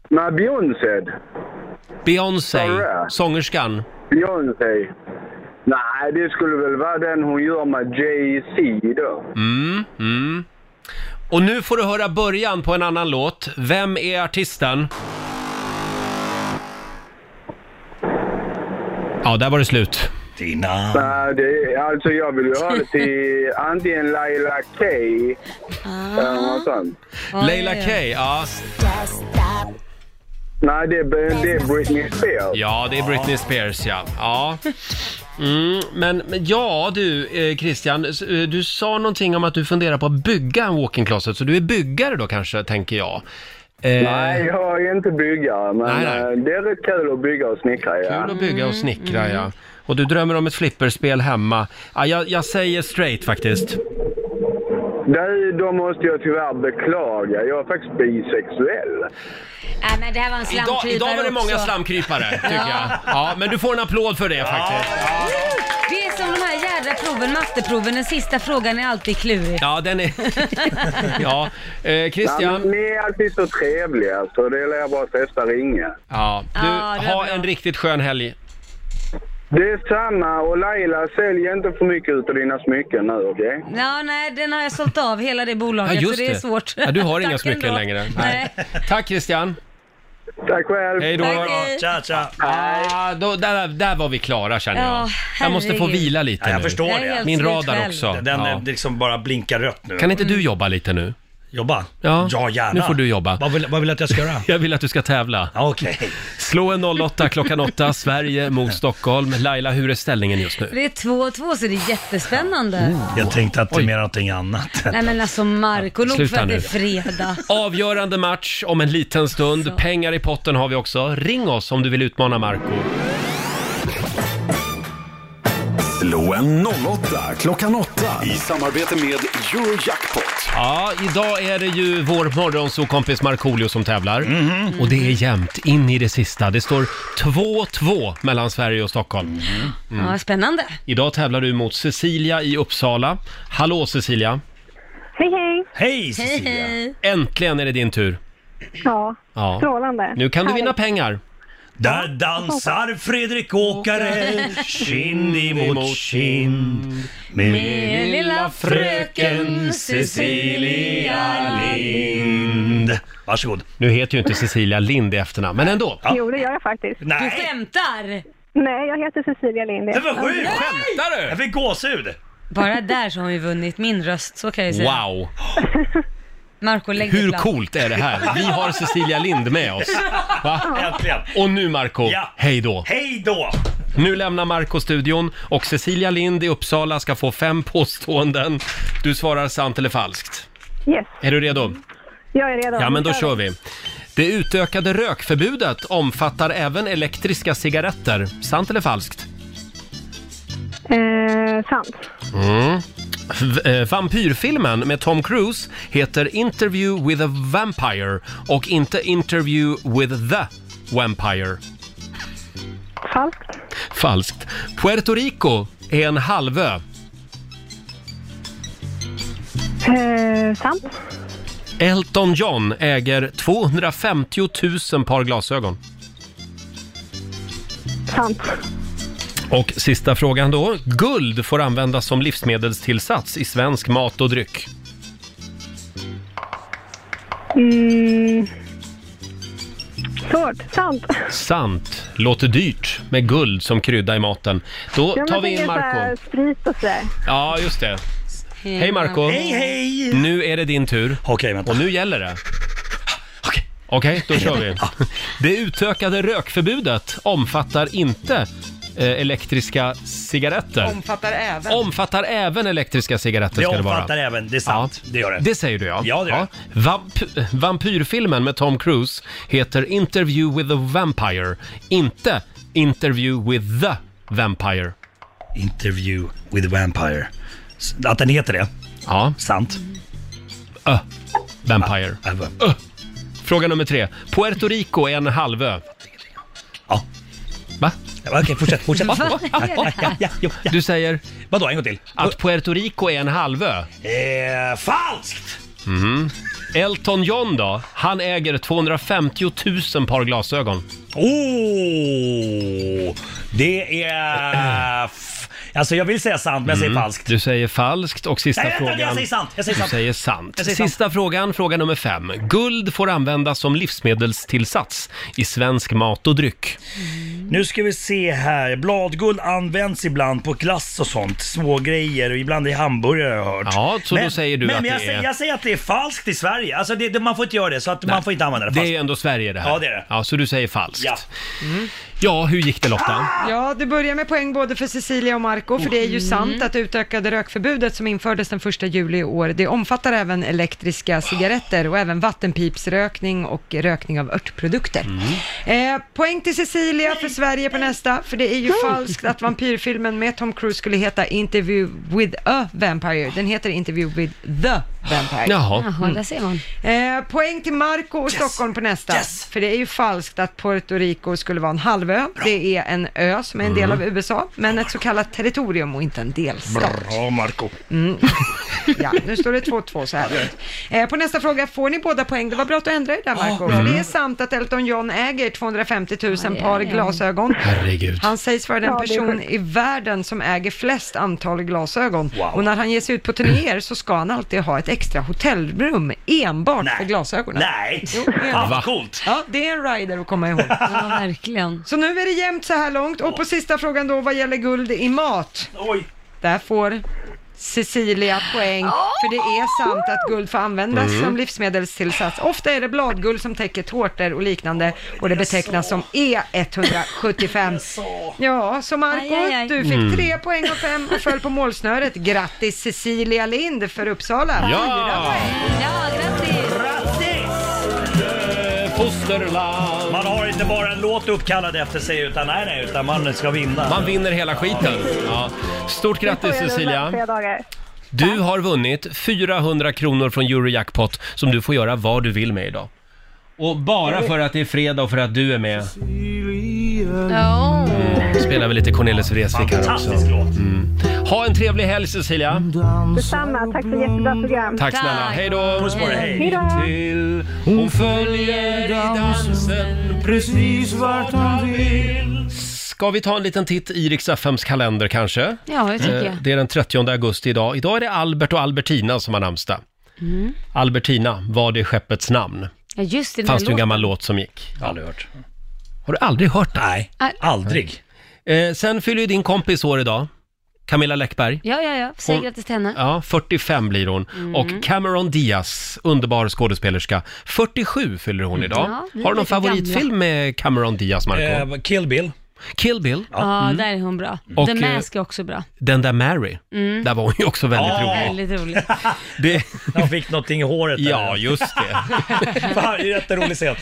S9: Nej, Beyoncé.
S1: Beyoncé,
S9: Har du det?
S1: sångerskan.
S9: Beyoncé. Nej, det skulle väl vara den hon gör med Jay-Z då.
S1: Mm, mm. Och nu får du höra början på en annan låt. Vem är artisten? Ja, där var det slut. Ah.
S6: Dina...
S9: Nej, det, alltså jag vill ju ha det till antingen Laila K eller något sånt.
S2: Oj,
S1: Leila
S2: oj, oj.
S1: K, ja.
S9: Nej, det är, det är Britney Spears.
S1: Ja, det är Britney Spears ja. ja. Mm, men, men ja du eh, Christian, s- eh, du sa någonting om att du funderar på att bygga en walk-in closet, så du är byggare då kanske, tänker jag. Eh,
S9: Nej, jag är inte byggare, men
S1: Nej, nej.
S9: eh, det är rätt kul att bygga och snickra. Ja.
S1: Kul att bygga och snickra
S2: Mm.
S1: ja. Och du drömmer om ett flipperspel hemma. Ja, jag, jag säger straight faktiskt.
S9: Mm. Det, då måste jag tyvärr beklaga. Jag är faktiskt bisexuell.
S2: Nej, men det här var en
S1: Idag,
S2: slamkrypare
S1: idag var det många
S2: också.
S1: slamkrypare, tycker jag.
S2: Ja.
S1: Ja, men du får en applåd för det faktiskt.
S2: Det är som de här jädra proven, matteproven, den sista frågan är alltid klurig.
S1: Ja, den är... Ja, eh,
S12: Nej,
S1: Christian.
S12: men ni är alltid så trevliga, så det lär jag bara testa ringa.
S1: Ja, du, ha en riktigt skön helg.
S12: Det är samma och Laila, sälj inte för mycket utav dina smycken nu, okej?
S2: Ja, nej, den har jag sålt av, hela det bolaget,
S1: Ja,
S2: så det är svårt.
S1: Ja, du har
S2: Tack
S1: inga smycken
S2: ändå.
S1: längre.
S2: Nej.
S1: Tack Christian.
S12: Tack själv.
S1: Hej då.
S2: Tack, hej.
S6: Tja, tja.
S1: Ah, då, där, där var vi klara känner jag.
S2: Ja,
S1: jag måste få
S2: herregud.
S1: vila lite
S6: Ja, jag
S1: nu.
S6: förstår Jag är det. helt
S1: Min
S6: slut
S1: radar
S6: själv.
S1: också.
S6: Den är liksom bara blinkar rött nu.
S1: Kan inte du jobba lite nu?
S6: Jobba?
S1: Ja,
S6: Ja, gärna.
S1: Nu får du jobba.
S6: Vad vill, vad vill du att jag ska göra?
S1: Jag vill att du ska tävla.
S6: Okej.
S1: Slå en 08 klockan 8, Sverige mot Stockholm. Laila, hur är ställningen just nu?
S2: Det är två och två, så det är jättespännande.
S1: Mm,
S6: Jag tänkte att det är mer någonting annat.
S2: Nej men alltså Marco, nog
S1: Sluta
S2: för att det
S1: nu.
S2: är fredag.
S1: Avgörande match om en liten stund. Pengar i potten har vi också. Ring oss om du vill utmana Marco.
S3: Slå en 08 klockan 8 i samarbete med Eurojackpot.
S1: Ja, idag är det ju vår morgonsokompis Markoolio som tävlar.
S6: Mhm.
S1: Och det är jämnt in i det sista. Det står 2-2 mellan Sverige och Stockholm.
S6: Mhm.
S1: Mm.
S2: Ja, spännande.
S1: Idag tävlar du mot Cecilia i Uppsala. Hallå Cecilia!
S11: Hej, hej.
S1: Hej
S11: Hej, hej.
S1: Äntligen är det din tur!
S11: Ja,
S1: Ja.
S11: strålande.
S1: Nu kan du
S11: Härligt.
S1: vinna pengar!
S6: Där dansar Fredrik Åkare kind
S1: Mm,
S6: emot kind
S3: Med lilla fröken
S2: Cecilia
S6: Lind. Varsågod.
S1: Nu heter ju inte Cecilia Lind i efternamn, men ändå.
S11: Jo, det gör jag faktiskt.
S1: Nej. Du
S2: skämtar?
S11: Nej, jag heter Cecilia Lind.
S6: Det var sjukt!
S1: Skämtar du?
S6: Jag fick gåshud!
S2: Bara där så har vi vunnit min röst, så kan jag ju säga.
S1: Wow!
S2: Marco, lägg dig
S1: Hur
S2: platt.
S1: coolt är det här? Vi har Cecilia Lind med oss. Va?
S6: Äntligen.
S1: Och nu Marco,
S6: Ja.
S1: hej då!
S6: Hej då!
S1: Nu lämnar Marco studion och Cecilia Lind i Uppsala ska få fem påståenden. Du svarar sant eller falskt.
S11: Yes,
S1: Är du redo?
S11: jag är redo.
S1: Ja, men då kör vi. Det utökade rökförbudet omfattar även elektriska cigaretter. Sant eller falskt?
S11: Eh, sant.
S1: Mm. V- eh, vampyrfilmen med Tom Cruise heter Interview with a Vampire och inte Interview with the Vampire.
S11: Falskt.
S1: Falskt. Puerto Rico är en halvö.
S11: Eh, sant.
S1: Elton John äger 250 000 par glasögon.
S11: Sant.
S1: Och sista frågan då. Guld får användas som livsmedelstillsats i svensk mat och dryck.
S11: Mm. Svårt. Sant.
S1: Sant. Låter dyrt med guld som krydda i maten. Då
S11: Ja, men
S1: tar vi
S11: det är
S1: in
S11: så här
S1: Marco.
S11: Sprit och sådär.
S1: Ja, just det. Hej Marco.
S11: Hej, hej.
S1: Nu är det din tur. Okej, vänta. Och nu gäller det. Okej, då kör vi. Det utökade rökförbudet omfattar inte eh, elektriska cigaretter.
S4: Omfattar även.
S1: Omfattar även elektriska cigaretter
S6: Det
S1: ska det vara.
S6: omfattar även, det är sant. Det gör det.
S1: Det säger du ja.
S6: Ja, det gör det.
S1: Vamp vampyrfilmen med Tom Cruise heter Interview with a Vampire, inte Interview with the Vampire.
S6: Interview with Vampire. S- Att den heter det?
S1: Ja.
S6: Sant.
S1: Ö. Vampire.
S6: Äh,
S1: Ö. Fråga nummer tre. Puerto Rico är en halvö.
S6: Ja.
S1: Va?
S6: Okej, fortsätt, fortsätt.
S1: Vad
S6: Ja,
S1: är det
S6: ja, ja, ja, ja, ja.
S1: Du säger?
S6: Vadå, en gång till?
S1: Att Puerto Rico är en halvö?
S6: Eh, falskt!
S1: Mhm. Elton John då? Han äger 250 000 par glasögon.
S6: Oh, det är... f- Alltså jag vill säga sant, men jag säger
S1: Mm.
S6: falskt.
S1: Du säger falskt och sista
S6: Nej, vänta,
S1: frågan...
S6: jag säger sant, jag säger
S1: du
S6: sant.
S1: säger sant.
S6: Jag säger sant.
S1: sista frågan, fråga nummer fem. Guld får användas som livsmedelstillsats i svensk mat och dryck.
S6: Nu ska vi se här. Bladguld används ibland på glass och sånt. Små grejer och ibland i hamburgare har jag hört.
S1: Ja, så då säger du
S6: men
S1: att
S6: jag
S1: det
S6: säger,
S1: är-
S6: jag säger att det är falskt i Sverige. Alltså det, det, man får inte göra det, så att man får inte använda det
S1: Det är
S6: falskt.
S1: ju ändå Sverige det här.
S6: Ja, det är det.
S1: Ja, så du säger falskt. Mm.
S6: Ja.
S1: Ja, hur gick det Lotta?
S4: Ja, du börjar med poäng både för Cecilia och Marco, för det är ju sant att det utökade rökförbudet som infördes den 1 juli i år, det omfattar även elektriska cigaretter och även vattenpipsrökning och rökning av örtprodukter. Eh, poäng till Cecilia för Sverige på nästa, för det är ju falskt att vampyrfilmen med Tom Cruise skulle heta Interview with a Vampire. Den heter Interview with the Vampire.
S2: Jaha.
S6: Mm.
S2: Jaha, där ser man.
S4: Eh, poäng till Marco och Stockholm på nästa. För det är ju falskt att Puerto Rico skulle vara en halvö. Det är en ö som är en del av
S6: Mm.
S4: USA, men ett så kallat territorium och inte en delstat.
S6: Bra, Marco.
S4: Ja, nu står det 2-2 så här långt. eh, På nästa fråga får ni båda poäng. Det var bra att du ändrade det där Marco.
S6: Mm.
S1: bra.
S4: För Det är sant att Elton John äger 250 000 par glasögon.
S1: Herregud.
S4: Han sägs vara den
S1: Ja, det är
S4: person
S1: sjukt.
S4: i världen som äger flest antal glasögon. Och när han ger sig ut på turnéer så ska han alltid ha ett extra hotellrum enbart för glasögonen.
S6: Nej.
S4: Jo,
S6: Ah,
S4: enbart.
S6: vad coolt.
S4: Ja, det är en rider att komma ihåg.
S2: Ja, verkligen.
S4: Så nu är det jämnt så här långt och på sista frågan då vad gäller guld i mat. Där får Cecilia poäng, för det är sant att guld får användas
S13: Mm.
S4: som livsmedelstillsats. Ofta är det bladguld som täcker tårtor och liknande och det betecknas som E175. Ja, så Marco,
S2: Aj, aj, aj.
S4: du fick
S1: Mm.
S4: tre poäng och fem och föll på målsnöret. Grattis Cecilia Lind för Uppsala! Fyra
S1: Ja!
S4: poäng.
S2: Ja, grattis!
S1: Fosterland.
S6: Man har inte bara en låt uppkallad efter sig utan nej, nej, utan man ska vinna.
S1: Man vinner hela skiten. Ja. Stort grattis Cecilia. Du har vunnit 400 kronor från Eurojackpot som du får göra vad du vill med idag. Och bara för att det är fredag och för att du är med
S2: Ja.
S1: Oh. spelar vi lite Cornelis Vreeswijk här också.
S6: Fantastisk låt.
S1: Mm. Ha en trevlig helg Cecilia.
S11: Detsamma, tack för jättebra program.
S1: Tack snälla. Hej då!
S11: Puss på dig, hej. Hej då.
S1: Till hon följer i dansen precis vart han vill. Ska vi ta en liten titt i Rix FMs kalender kanske?
S2: Ja, det tycker
S1: Eh,
S2: jag.
S1: Det är den 30 augusti idag. Idag är det Albert och Albertina som har namnsdag.
S2: Mm.
S1: Albertina var det skeppets namn.
S2: Ja, just det. den
S1: Fanns det ju en
S2: låten.
S1: gammal låt som gick.
S6: Aldrig hört.
S1: Har du aldrig hört det?
S6: Nej,
S2: Nej.
S1: Ah.
S6: aldrig.
S1: Eh, sen fyller ju din kompis år idag, Camilla Läckberg.
S2: Ja, ja, ja. Säg
S1: Hon-
S2: grattis till henne.
S1: Ja, 45 blir hon.
S2: Mm.
S1: Och Cameron Diaz, underbar skådespelerska. 47 fyller hon idag.
S2: Ja, vi är
S1: Har du någon
S2: lite
S1: favoritfilm
S2: gamla.
S1: med Cameron Diaz, Marco?
S6: Eh, Kill Bill.
S1: Kill Bill?
S2: Ja,
S1: Mm.
S2: där är hon bra.
S1: Och,
S2: The
S1: eh,
S2: Mask är också bra.
S1: Den där Mary,
S2: Mm.
S1: där var hon ju också väldigt rolig.
S2: Väldigt rolig.
S1: Det...
S6: Hon fick någonting i håret.
S1: Ja, just det.
S6: Fan, det är ju jätterolig scen.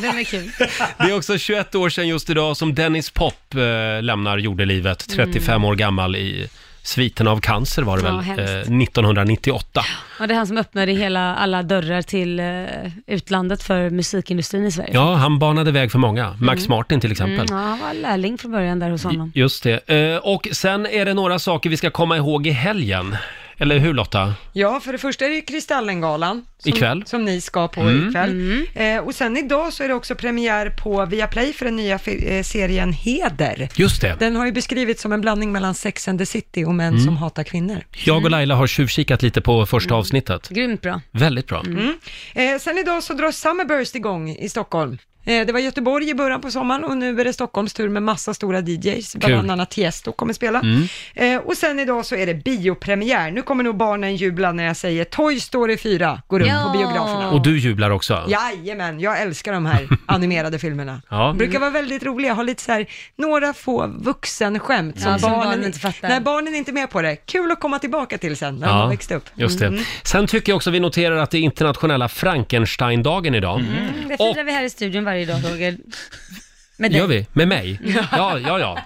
S2: Den är kul.
S1: Det är också 21 år sedan just idag som Dennis Pop eh, lämnar jordelivet, 35 år gammal i sviten av cancer var det
S2: Mm. Ja,
S1: väl,
S2: hemskt.
S1: eh, 1998.
S2: Och det är han som öppnade hela, alla dörrar till eh, utlandet för musikindustrin i Sverige.
S1: Ja, han banade väg för många, Max
S2: Mm.
S1: Martin till exempel.
S2: Mm, ja, han var lärling från början där hos honom.
S1: Just det. Eh, Och sen är det några saker vi ska komma ihåg i helgen. Eller hur Lotta?
S4: Ja, för det första är det ju Kristallengalan som,
S1: Ikväll.
S4: som ni ska på
S1: Mm.
S4: ikväll.
S1: Mm.
S4: Eh, och sen idag så är det också premiär på Viaplay för den nya fi- eh, serien Heder.
S1: Just det.
S4: Den har ju beskrivits som en blandning mellan Sex and the City och män
S1: Mm.
S4: som hatar kvinnor.
S1: Jag
S2: Mm.
S1: och Laila har tjuvkikat lite på första avsnittet.
S2: Grymt bra.
S1: Väldigt bra.
S4: Mm. Eh, sen idag så drar Summerburst igång i Stockholm. Eh, det var Göteborg i början på sommaren och nu är det Stockholms tur med massa stora DJs,
S1: Kul.
S4: bland annat Tiesto kommer spela.
S1: Mm.
S4: Eh, och sen idag så är det biopremiär. Nu kommer nog barnen jubla när jag säger Toy Story 4 går upp på biograferna.
S1: Och du jublar också?
S4: Jajamän, jag älskar de här animerade filmerna.
S1: Ja.
S4: De brukar vara väldigt roliga, ha lite så här, några få vuxenskämt som,
S2: Ja, som
S4: barnen,
S2: barnen inte fattar.
S4: När barnen inte är med på det. Kul att komma tillbaka till sen, när de har
S1: Ja,
S4: växt upp.
S1: just det.
S4: Mm.
S1: Sen tycker jag också vi noterar att det är internationella Frankenstein-dagen idag.
S2: Det firar vi här i studion varje dag, Roger. Med dig.
S1: Gör vi? Med mig? Ja, ja, ja.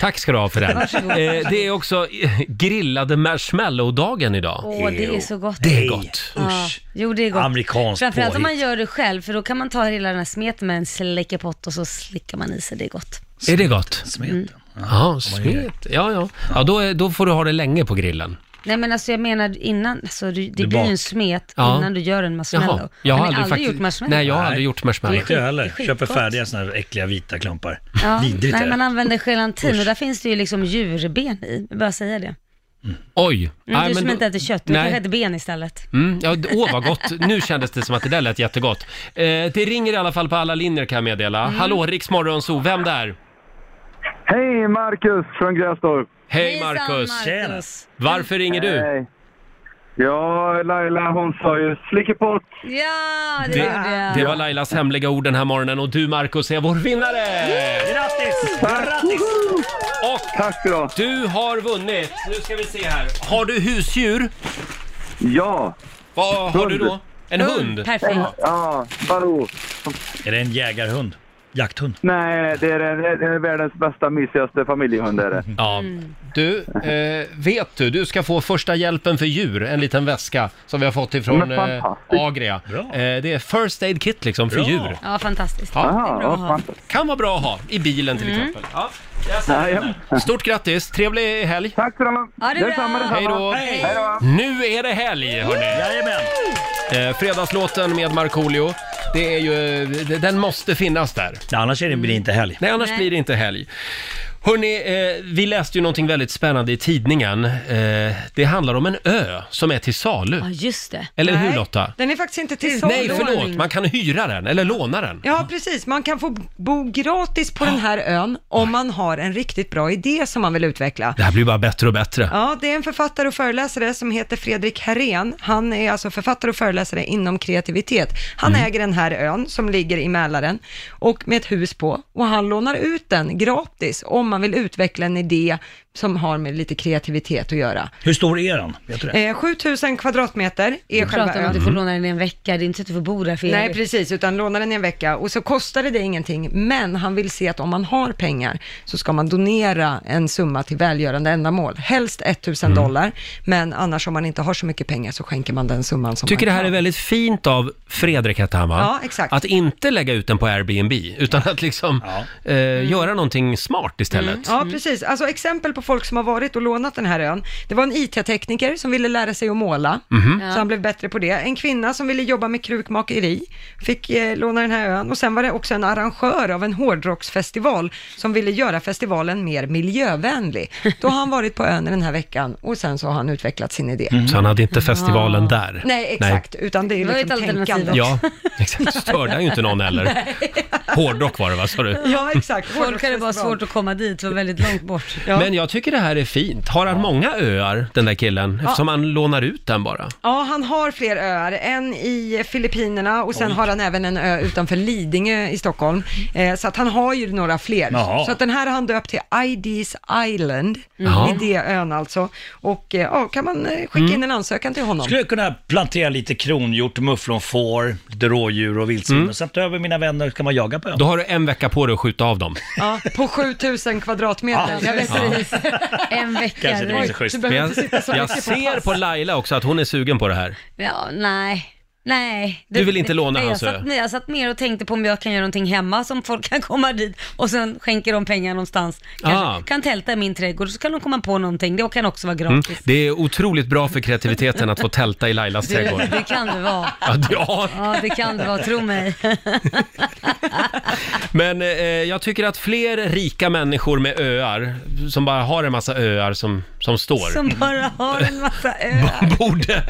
S1: Tack ska du ha för den.
S2: Varsågod.
S1: Eh, det är också eh, grillade marshmallow-dagen idag.
S2: Åh, det är så gott.
S1: Det är gott.
S2: Ja. Jo, det är gott.
S1: Amerikanskt
S2: Framförallt om man
S1: påhitt.
S2: gör det själv, för då kan man ta hela den här smeten med en släckepott och så slickar man i sig, det är gott.
S1: Är det gott?
S2: Smeten.
S1: Ja,
S2: man gör det.
S1: smet. Ja, ja. ja då, är, då får du ha det länge på grillen.
S2: Nej men alltså jag menar innan, alltså, det, det blir
S1: bak-
S2: ju en smet
S1: Ja.
S2: innan du gör en marshmallow.
S1: Jaha, jag har
S2: ni
S1: aldrig faktiskt-
S2: gjort marshmallow?
S1: Nej, jag har aldrig gjort marshmallow.
S6: Inte jag heller.
S2: Det är skitgott.
S6: Köper färdiga såna här äckliga vita klumpar.
S2: Ja,
S6: Vidrigt är
S2: nej,
S6: det.
S2: man använder gelatin och
S6: Usch.
S2: där finns det ju liksom djurben i, jag bara säga det.
S1: Oj!
S2: Mm,
S1: Nej,
S2: du som
S1: då-
S2: inte äter kött, du
S1: Nej.
S2: kanske äter ben istället.
S1: Mm, ja, d- åh vad gott. Nu kändes det som att det där lät jättegott. Eh, det ringer i alla fall på alla linjer kan jag meddela.
S2: Mm.
S1: Hallå, Riks Morgonzoo, vem där?
S12: Hej, Marcus från Grästorp.
S1: Hej Marcus!
S12: Tjena.
S1: Varför ringer du?
S12: Hej. Ja, Laila hon sa ju slickepott.
S2: Ja, det,
S1: Det,
S2: gjorde jag.
S1: det var Lailas hemliga ord den här morgonen och du Marcus är vår vinnare!
S6: Grattis!
S12: Grattis!
S1: Och
S12: Tack ska du ha.
S1: Du har vunnit! Nu ska vi se här. Har du husdjur?
S12: Ja.
S1: Vad har du då? En hund?
S12: Ja, Baloo.
S6: Är det en jägarhund? Jakthund?
S12: Nej, det är, det är världens bästa, mysigaste familjehund. Är det.
S1: Ja. Du, eh, vet du, du ska få första hjälpen för djur, en liten väska som vi har fått ifrån
S2: Men
S1: eh,
S2: fantastiskt.
S1: Agria. Eh, det är First Aid Kit liksom för
S2: Bra.
S1: djur.
S2: Ja, fantastiskt.
S1: Ja.
S2: det är bra att ha.
S1: Kan vara bra att ha i bilen till
S2: Mm.
S1: exempel. Ja, jag säger det. Stort grattis, trevlig helg!
S12: Tack så
S2: Ja, det är Detsamma, bra. detsamma.
S1: Hej då!
S2: Hej.
S1: Nu är det helg hörni! Eh, fredagslåten med Markoolio, det är ju, eh, den måste finnas där.
S6: Nej, annars är det, blir det inte helg.
S1: Nej, annars
S6: Nej.
S1: blir det inte helg. Hörni, eh, vi läste ju någonting väldigt spännande i tidningen. Eh, det handlar om en ö som är till salu.
S2: Ja, just det.
S1: Eller hur
S4: Nej.
S1: Lotta?
S4: Den är faktiskt inte till
S1: Nej,
S4: salu.
S1: förlåt. Man kan hyra den, eller låna den.
S4: Ja, precis. Man kan få bo gratis på den här ön om man har en riktigt bra idé som man vill utveckla.
S1: Det här blir bara bättre och bättre.
S4: Ja, det är en författare och föreläsare som heter Fredrik Herén. Han är alltså författare och föreläsare inom kreativitet. Han
S1: Mm.
S4: äger den här ön som ligger i Mälaren och med ett hus på och han lånar ut den gratis om man vill utveckla en idé som har med lite kreativitet att göra.
S6: Hur stor är den? Vet du det?
S4: Eh, 7000 kvadratmeter är
S2: Du
S4: själva
S2: pratar om att du får
S4: ön.
S2: låna den i en vecka, det är inte så att du får bo där för
S4: Nej,
S2: evigt.
S4: precis, utan låna den i en vecka och så kostade det ingenting, men han vill se att om man har pengar så ska man donera en summa till välgörande ändamål, helst 1000 dollar, men annars om man inte har så mycket pengar så skänker man den summan som
S1: Tycker det
S4: man
S1: här är väldigt fint av Fredrik, hette han va?
S4: Ja, exakt.
S1: Att inte lägga ut den på Airbnb, utan att liksom eh, göra någonting smart istället.
S4: Ja, precis. Alltså exempel på folk som har varit och lånat den här ön. Det var en IT-tekniker som ville lära sig att måla,
S1: Mhm.
S4: så han blev bättre på det. En kvinna som ville jobba med krukmakeri, fick eh, låna den här ön. Och sen var det också en arrangör av en hårdrocksfestival som ville göra festivalen mer miljövänlig. Då har han varit på ön den här veckan och sen så har han utvecklat sin idé.
S1: Mm. Så han hade inte festivalen där.
S4: Nej, exakt, utan det är
S2: Det var ju
S4: liksom
S2: ett alternativ
S4: tänkande.
S1: Ja, exakt. Störde han ju inte någon heller.
S2: Nej.
S1: Hårdrock var det va, sa du?
S4: Ja, exakt.
S2: Folk hade bara svårt att komma dit, det var väldigt långt bort.
S1: Men jag tycker det här är fint. Har han många öar, den där killen?
S4: Ja.
S1: Eftersom han lånar ut den bara.
S4: Ja, han har fler öar. En i Filippinerna och sen
S1: Oj.
S4: har han även en ö utanför Lidingö i Stockholm. Eh, så att han har ju några fler.
S1: Jaha.
S4: Så att den här har han döpt till ID's Island,
S6: Jaha.
S4: mm. det ön alltså. Och eh, ja, kan man eh, skicka
S1: Mm.
S4: in en ansökan till honom?
S6: Skulle jag kunna plantera lite kronhjort, mufflonfår, lite rådjur och vildsvin och sätta över mina vänner så kan man jaga på ön.
S1: Mm. Då har du en vecka på dig att skjuta av dem.
S4: Ja, på 7000 kvadratmeter.
S6: Ja,
S4: jag vet
S1: Ah, ja.
S4: precis.
S2: En vecka.
S1: Kanske det är
S2: Oj,
S1: så schysst.
S2: Du
S1: Men
S2: behöver
S1: jag,
S2: inte sitta så
S1: jag
S2: mycket på
S1: ser
S2: pass.
S1: på Laila också att hon är sugen på det här.
S2: Ja, nej. Nej.
S1: Du vill inte låna alltså?
S2: nej,
S1: hans
S2: jag
S1: ö?
S2: satt, nej, jag satt mer och tänkte på om jag kan göra någonting hemma som folk kan komma dit och sen skänker de pengar någonstans. Kanske,
S1: Ah.
S2: Kan tälta i min trädgård så kan de komma på någonting. Det kan också vara
S1: Mm.
S2: gratis.
S1: Det är otroligt bra för kreativiteten att få tälta i Lailas trädgård.
S2: Det, det kan det vara.
S1: Ja, ja.
S2: Ja, det kan det vara, tro mig.
S1: Men eh, jag tycker att fler rika människor med öar, som bara har en massa öar som, som står,
S2: Som bara har en massa öar.
S1: borde,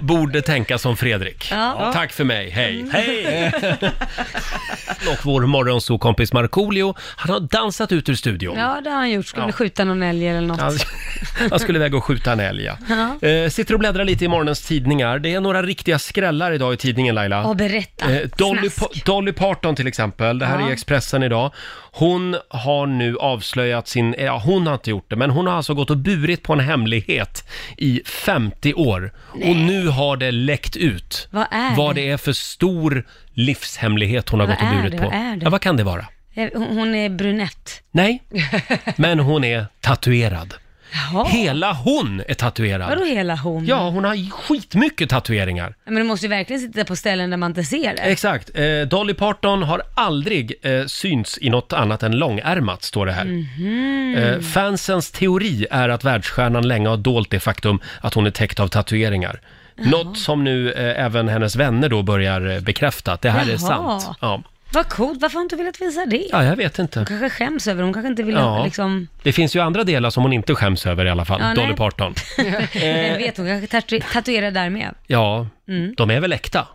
S1: borde tänka som Fredrik.
S2: Ja.
S1: Tack för mig, Mm. hej!
S6: Hej!
S1: Och vår morgonsokompis Markoolio, han har dansat ut ur studion.
S2: Ja, det har han gjort. Skulle
S1: Ja.
S2: skjuta någon älg eller något.
S1: Han, han skulle iväg och skjuta en älg, ja.
S2: Ja.
S1: Eh, sitter och bläddrar lite i morgonens tidningar. Det är några riktiga skrällar idag i tidningen Laila.
S2: Och berätta.
S1: Eh, Dolly,
S2: Snask.
S1: pa- Dolly Parton till exempel, det här
S2: Ja.
S1: är i Expressen idag. Hon har nu avslöjat sin, ja hon har inte gjort det, men hon har alltså gått och burit på en hemlighet i 50 år. Och nu har det läckt ut
S2: Vad är
S1: vad
S2: det?
S1: det är för stor livshemlighet hon har
S2: Vad
S1: gått och
S2: är
S1: burit
S2: det?
S1: på.
S2: Vad är det?
S1: Ja, vad kan det vara?
S2: Eh, Hon hon är brunett.
S1: Nej, men hon är tatuerad. Hela hon är tatuerad.
S2: Vadå hela hon?
S1: Ja, hon har skitmycket tatueringar.
S2: Men du måste ju verkligen sitta på ställen där man inte ser det.
S1: Exakt. Eh, Dolly Parton har aldrig eh, synts i något annat än långärmat, står det här.
S2: Mhm.
S1: Eh, fansens teori är att världsstjärnan länge har dolt det faktum att hon är täckt av tatueringar. Något som nu eh, även hennes vänner då börjar eh, bekräfta, att det här är
S2: Jaha.
S1: sant. Ja.
S2: Vad coolt, varför har hon inte velat visa det?
S1: ja, jag vet inte.
S2: Hon kanske skäms över det, hon kanske inte vill
S1: Ja.
S2: liksom...
S1: Det finns ju andra delar som hon inte skäms över i alla fall,
S2: Ja,
S1: Dolly
S2: nej.
S1: Parton.
S2: Vem vet, hon kanske tatu- tatuerar där med.
S1: Ja,
S2: Mm.
S1: de är väl äkta?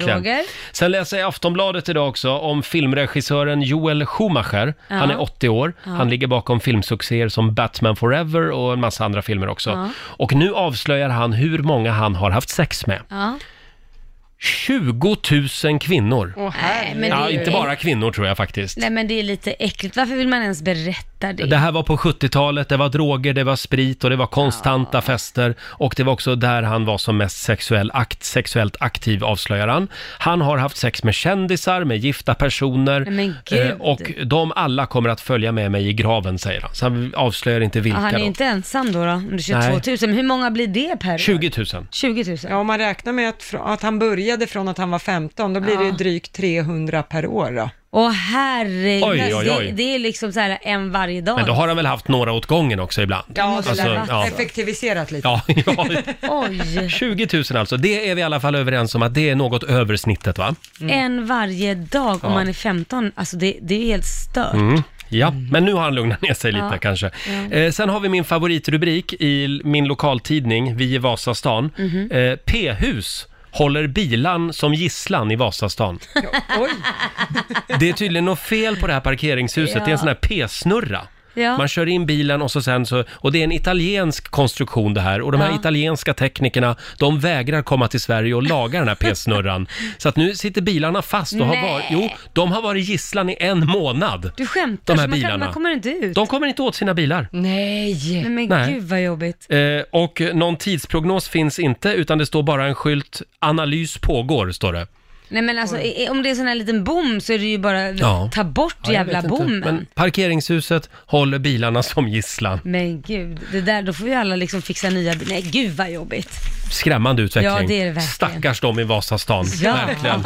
S2: Roger.
S1: Sen läser jag i Aftonbladet idag också om filmregissören Joel Schumacher.
S2: Ja.
S1: Han är 80 år.
S2: Ja.
S1: Han ligger bakom filmsuccéer som Batman Forever och en massa andra filmer också.
S2: Ja.
S1: Och nu avslöjar han hur många han har haft sex med.
S2: Ja.
S1: 20 000 kvinnor.
S2: Nej, men det är
S1: ja,
S2: ju
S1: inte bara kvinnor tror jag faktiskt.
S2: Nej men det är lite äckligt. Varför vill man ens berätta det?
S1: Det här var på 70-talet, det var droger, det var sprit och det var konstanta fester. Och det var också där han var som mest sexuell akt, sexuellt aktiv, avslöjar han. Han har haft sex med kändisar, med gifta personer.
S2: Nej, men gud.
S1: Eh, och de alla kommer att följa med mig i graven, säger han. Så han avslöjar inte
S2: Ja,
S1: vilka
S2: han är
S1: då.
S2: ju inte ensam då, då om det är 22 000.
S1: Nej.
S2: Men hur många blir det per år?
S1: 20 000.
S2: 20 000.
S4: Ja, om man räknar med att, fr- att han började från att han var 15, då blir det ju drygt 300 per år då.
S2: Åh herregud,
S1: Oj, oj, oj.
S2: Det, det är liksom så här en varje dag.
S1: Men då har han väl haft några åt gången också ibland. Alltså,
S2: Ja, det lär vara.
S1: ja.
S4: Effektiviserat lite.
S1: Ja, ja,
S2: Oj,
S1: 20 000 alltså. Det är vi i alla fall överens om att det är något över snittet, va?
S2: en varje dag
S1: Mm.
S2: om
S1: Ja.
S2: man är 15. Alltså det, det är helt stört.
S1: Mm. Ja, men nu har han lugnat ner sig lite
S2: Ja.
S1: kanske.
S2: Ja.
S1: Eh, sen har vi min favoritrubrik i l- min lokaltidning, Vi i Vasastan.
S2: Mhm.
S1: Eh, P-hus håller bilan som gisslan i Vasastan. Det är tydligen något fel på det här parkeringshuset. Det är en sån här P-snurra.
S2: Ja.
S1: Man kör in bilen och så sen så, och det är en italiensk konstruktion det här och de här
S2: Ja.
S1: italienska teknikerna, de vägrar komma till Sverige och laga den här P-snurran. Så att nu sitter bilarna fast och har
S2: Nej.
S1: varit, jo, de har varit gisslan i en månad.
S2: Du skämtar,
S1: De här
S2: så man, kan,
S1: bilarna.
S2: man kommer inte ut.
S1: De kommer inte åt sina bilar.
S2: Nej. Men, men
S1: Nej.
S2: gud vad jobbigt.
S1: Eh, och någon tidsprognos finns inte, utan det står bara en skylt “Analys pågår” står det.
S2: Nej men alltså i- i- om det är sån här liten bom så är det ju bara
S1: Ja.
S2: ta bort
S1: Ja, jag
S2: jävla
S1: vet inte.
S2: bommen. Men...
S1: Men parkeringshuset håller bilarna som gisslan.
S2: gud, det där, då får ju alla liksom fixa nya bilar. Nej gud vad jobbigt.
S1: Skrämmande utveckling.
S2: Ja, det är det verkligen.
S1: Stackars dem i Vasastan.
S2: Ja.
S1: Verkligen.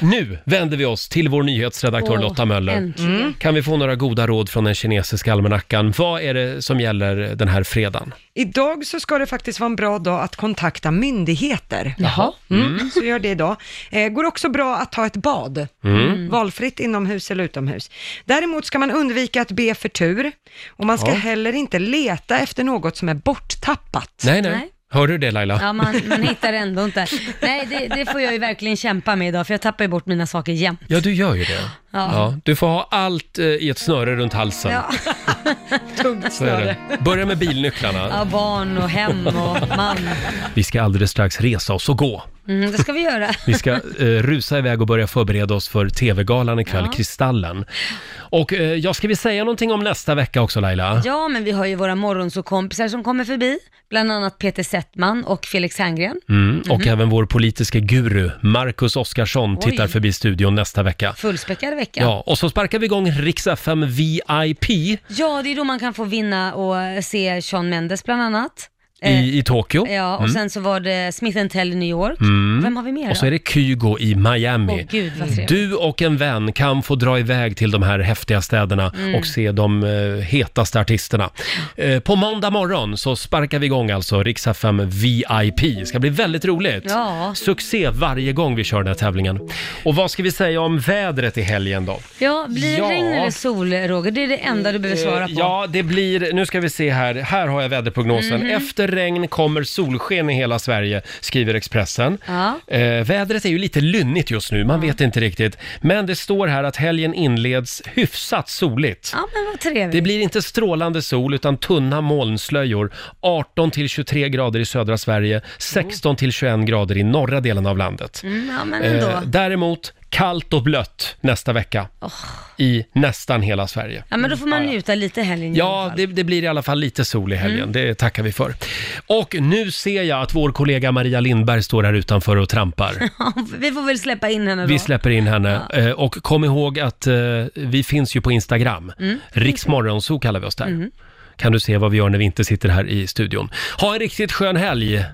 S1: Nu vänder vi oss till vår nyhetsredaktör
S2: Åh,
S1: Lotta Möller.
S2: äntligen. Mm.
S1: Kan vi få några goda råd från den kinesiska almanackan? Vad är det som gäller den här fredagen?
S4: Idag så ska det faktiskt vara en bra dag att kontakta myndigheter. Jaha. Mm, så gör det idag. Eh, går också bra att ta ett bad,
S11: Mm.
S4: valfritt inomhus eller utomhus. Däremot ska man undvika att be för tur och man ska
S1: Ja.
S4: heller inte leta efter något som är borttappat.
S1: Nej, nej. Hör du det Laila?
S2: Ja, man, man hittar ändå inte. Nej, det, det får jag ju verkligen kämpa med idag, för jag tappar ju bort mina saker jämt.
S1: Ja, du gör ju det.
S2: Ja.
S1: Ja, du får ha allt eh, i ett snöre runt halsen.
S2: Ja. Tungt
S1: Så är det. Börja med bilnycklarna.
S2: Ja, barn och hem och man.
S1: Vi ska alldeles strax resa oss och gå.
S2: Mm, det ska vi göra.
S1: Vi ska eh, rusa iväg och börja förbereda oss för TV-galan ikväll,
S2: Ja.
S1: Kristallen. Och eh, jag ska vi säga någonting om nästa vecka också Laila?
S2: Ja, men vi har ju våra morgonsåkompisar som kommer förbi, bland annat Peter Settman och Felix Herngren.
S1: Mm, och
S2: Mhm.
S1: även vår politiska guru, Marcus Oskarsson,
S2: Oj.
S1: tittar förbi studion nästa vecka.
S2: Fullspäckad vecka.
S1: Ja, och så sparkar vi igång Rix FM VIP i,
S2: Ja, det är då man kan få vinna och se Sean Mendes bland annat. Eh,
S1: i Tokyo.
S2: Ja, och
S1: Mm.
S2: sen så var det Smith Tell i New York.
S1: Mm.
S2: Vem har vi mer
S1: Och så är det Kygo i Miami.
S2: Åh, gud, vad trevligt.
S1: du och en vän kan få dra iväg till de här häftiga städerna
S2: Mm.
S1: och se de eh, hetaste artisterna. Eh, på måndag morgon så sparkar vi igång alltså Rix FM VIP. Det ska bli väldigt roligt.
S2: Ja.
S1: Succé varje gång vi kör den här tävlingen. Och vad ska vi säga om vädret i helgen då?
S2: Ja, blir det
S1: Ja.
S2: regn eller sol, Roger? Det är det enda du behöver svara på.
S1: Eh, Ja, det blir, nu ska vi se här, här har jag väderprognosen.
S2: Mhm.
S1: Efter regn kommer solsken i hela Sverige, skriver Expressen.
S2: Ja.
S1: Eh, vädret är ju lite lynnigt just nu, man vet inte riktigt. Men det står här att helgen inleds hyfsat soligt.
S2: Ja, men vad trevligt.
S1: Det blir inte strålande sol utan tunna molnslöjor. 18 till 23 grader i södra Sverige, 16 till 21 grader i norra delen av landet.
S2: Mm, ja, men ändå. Oh.
S1: Eh, däremot kallt och blött nästa vecka i nästan hela Sverige.
S2: Ja, men då får man njuta lite helgen.
S1: Ja, det, det blir i alla fall lite sol i
S2: Mm.
S1: helgen. Det tackar vi för. Och nu ser jag att vår kollega Maria Lindberg står här utanför och trampar.
S2: Vi får väl släppa in henne då.
S1: Vi släpper in henne. Eh, Och kom ihåg att eh, vi finns ju på Instagram.
S2: Mm.
S1: Riksmorgonzoo kallar vi oss där.
S2: Mm.
S1: Kan du se vad vi gör när vi inte sitter här i studion. Ha en riktigt skön helg,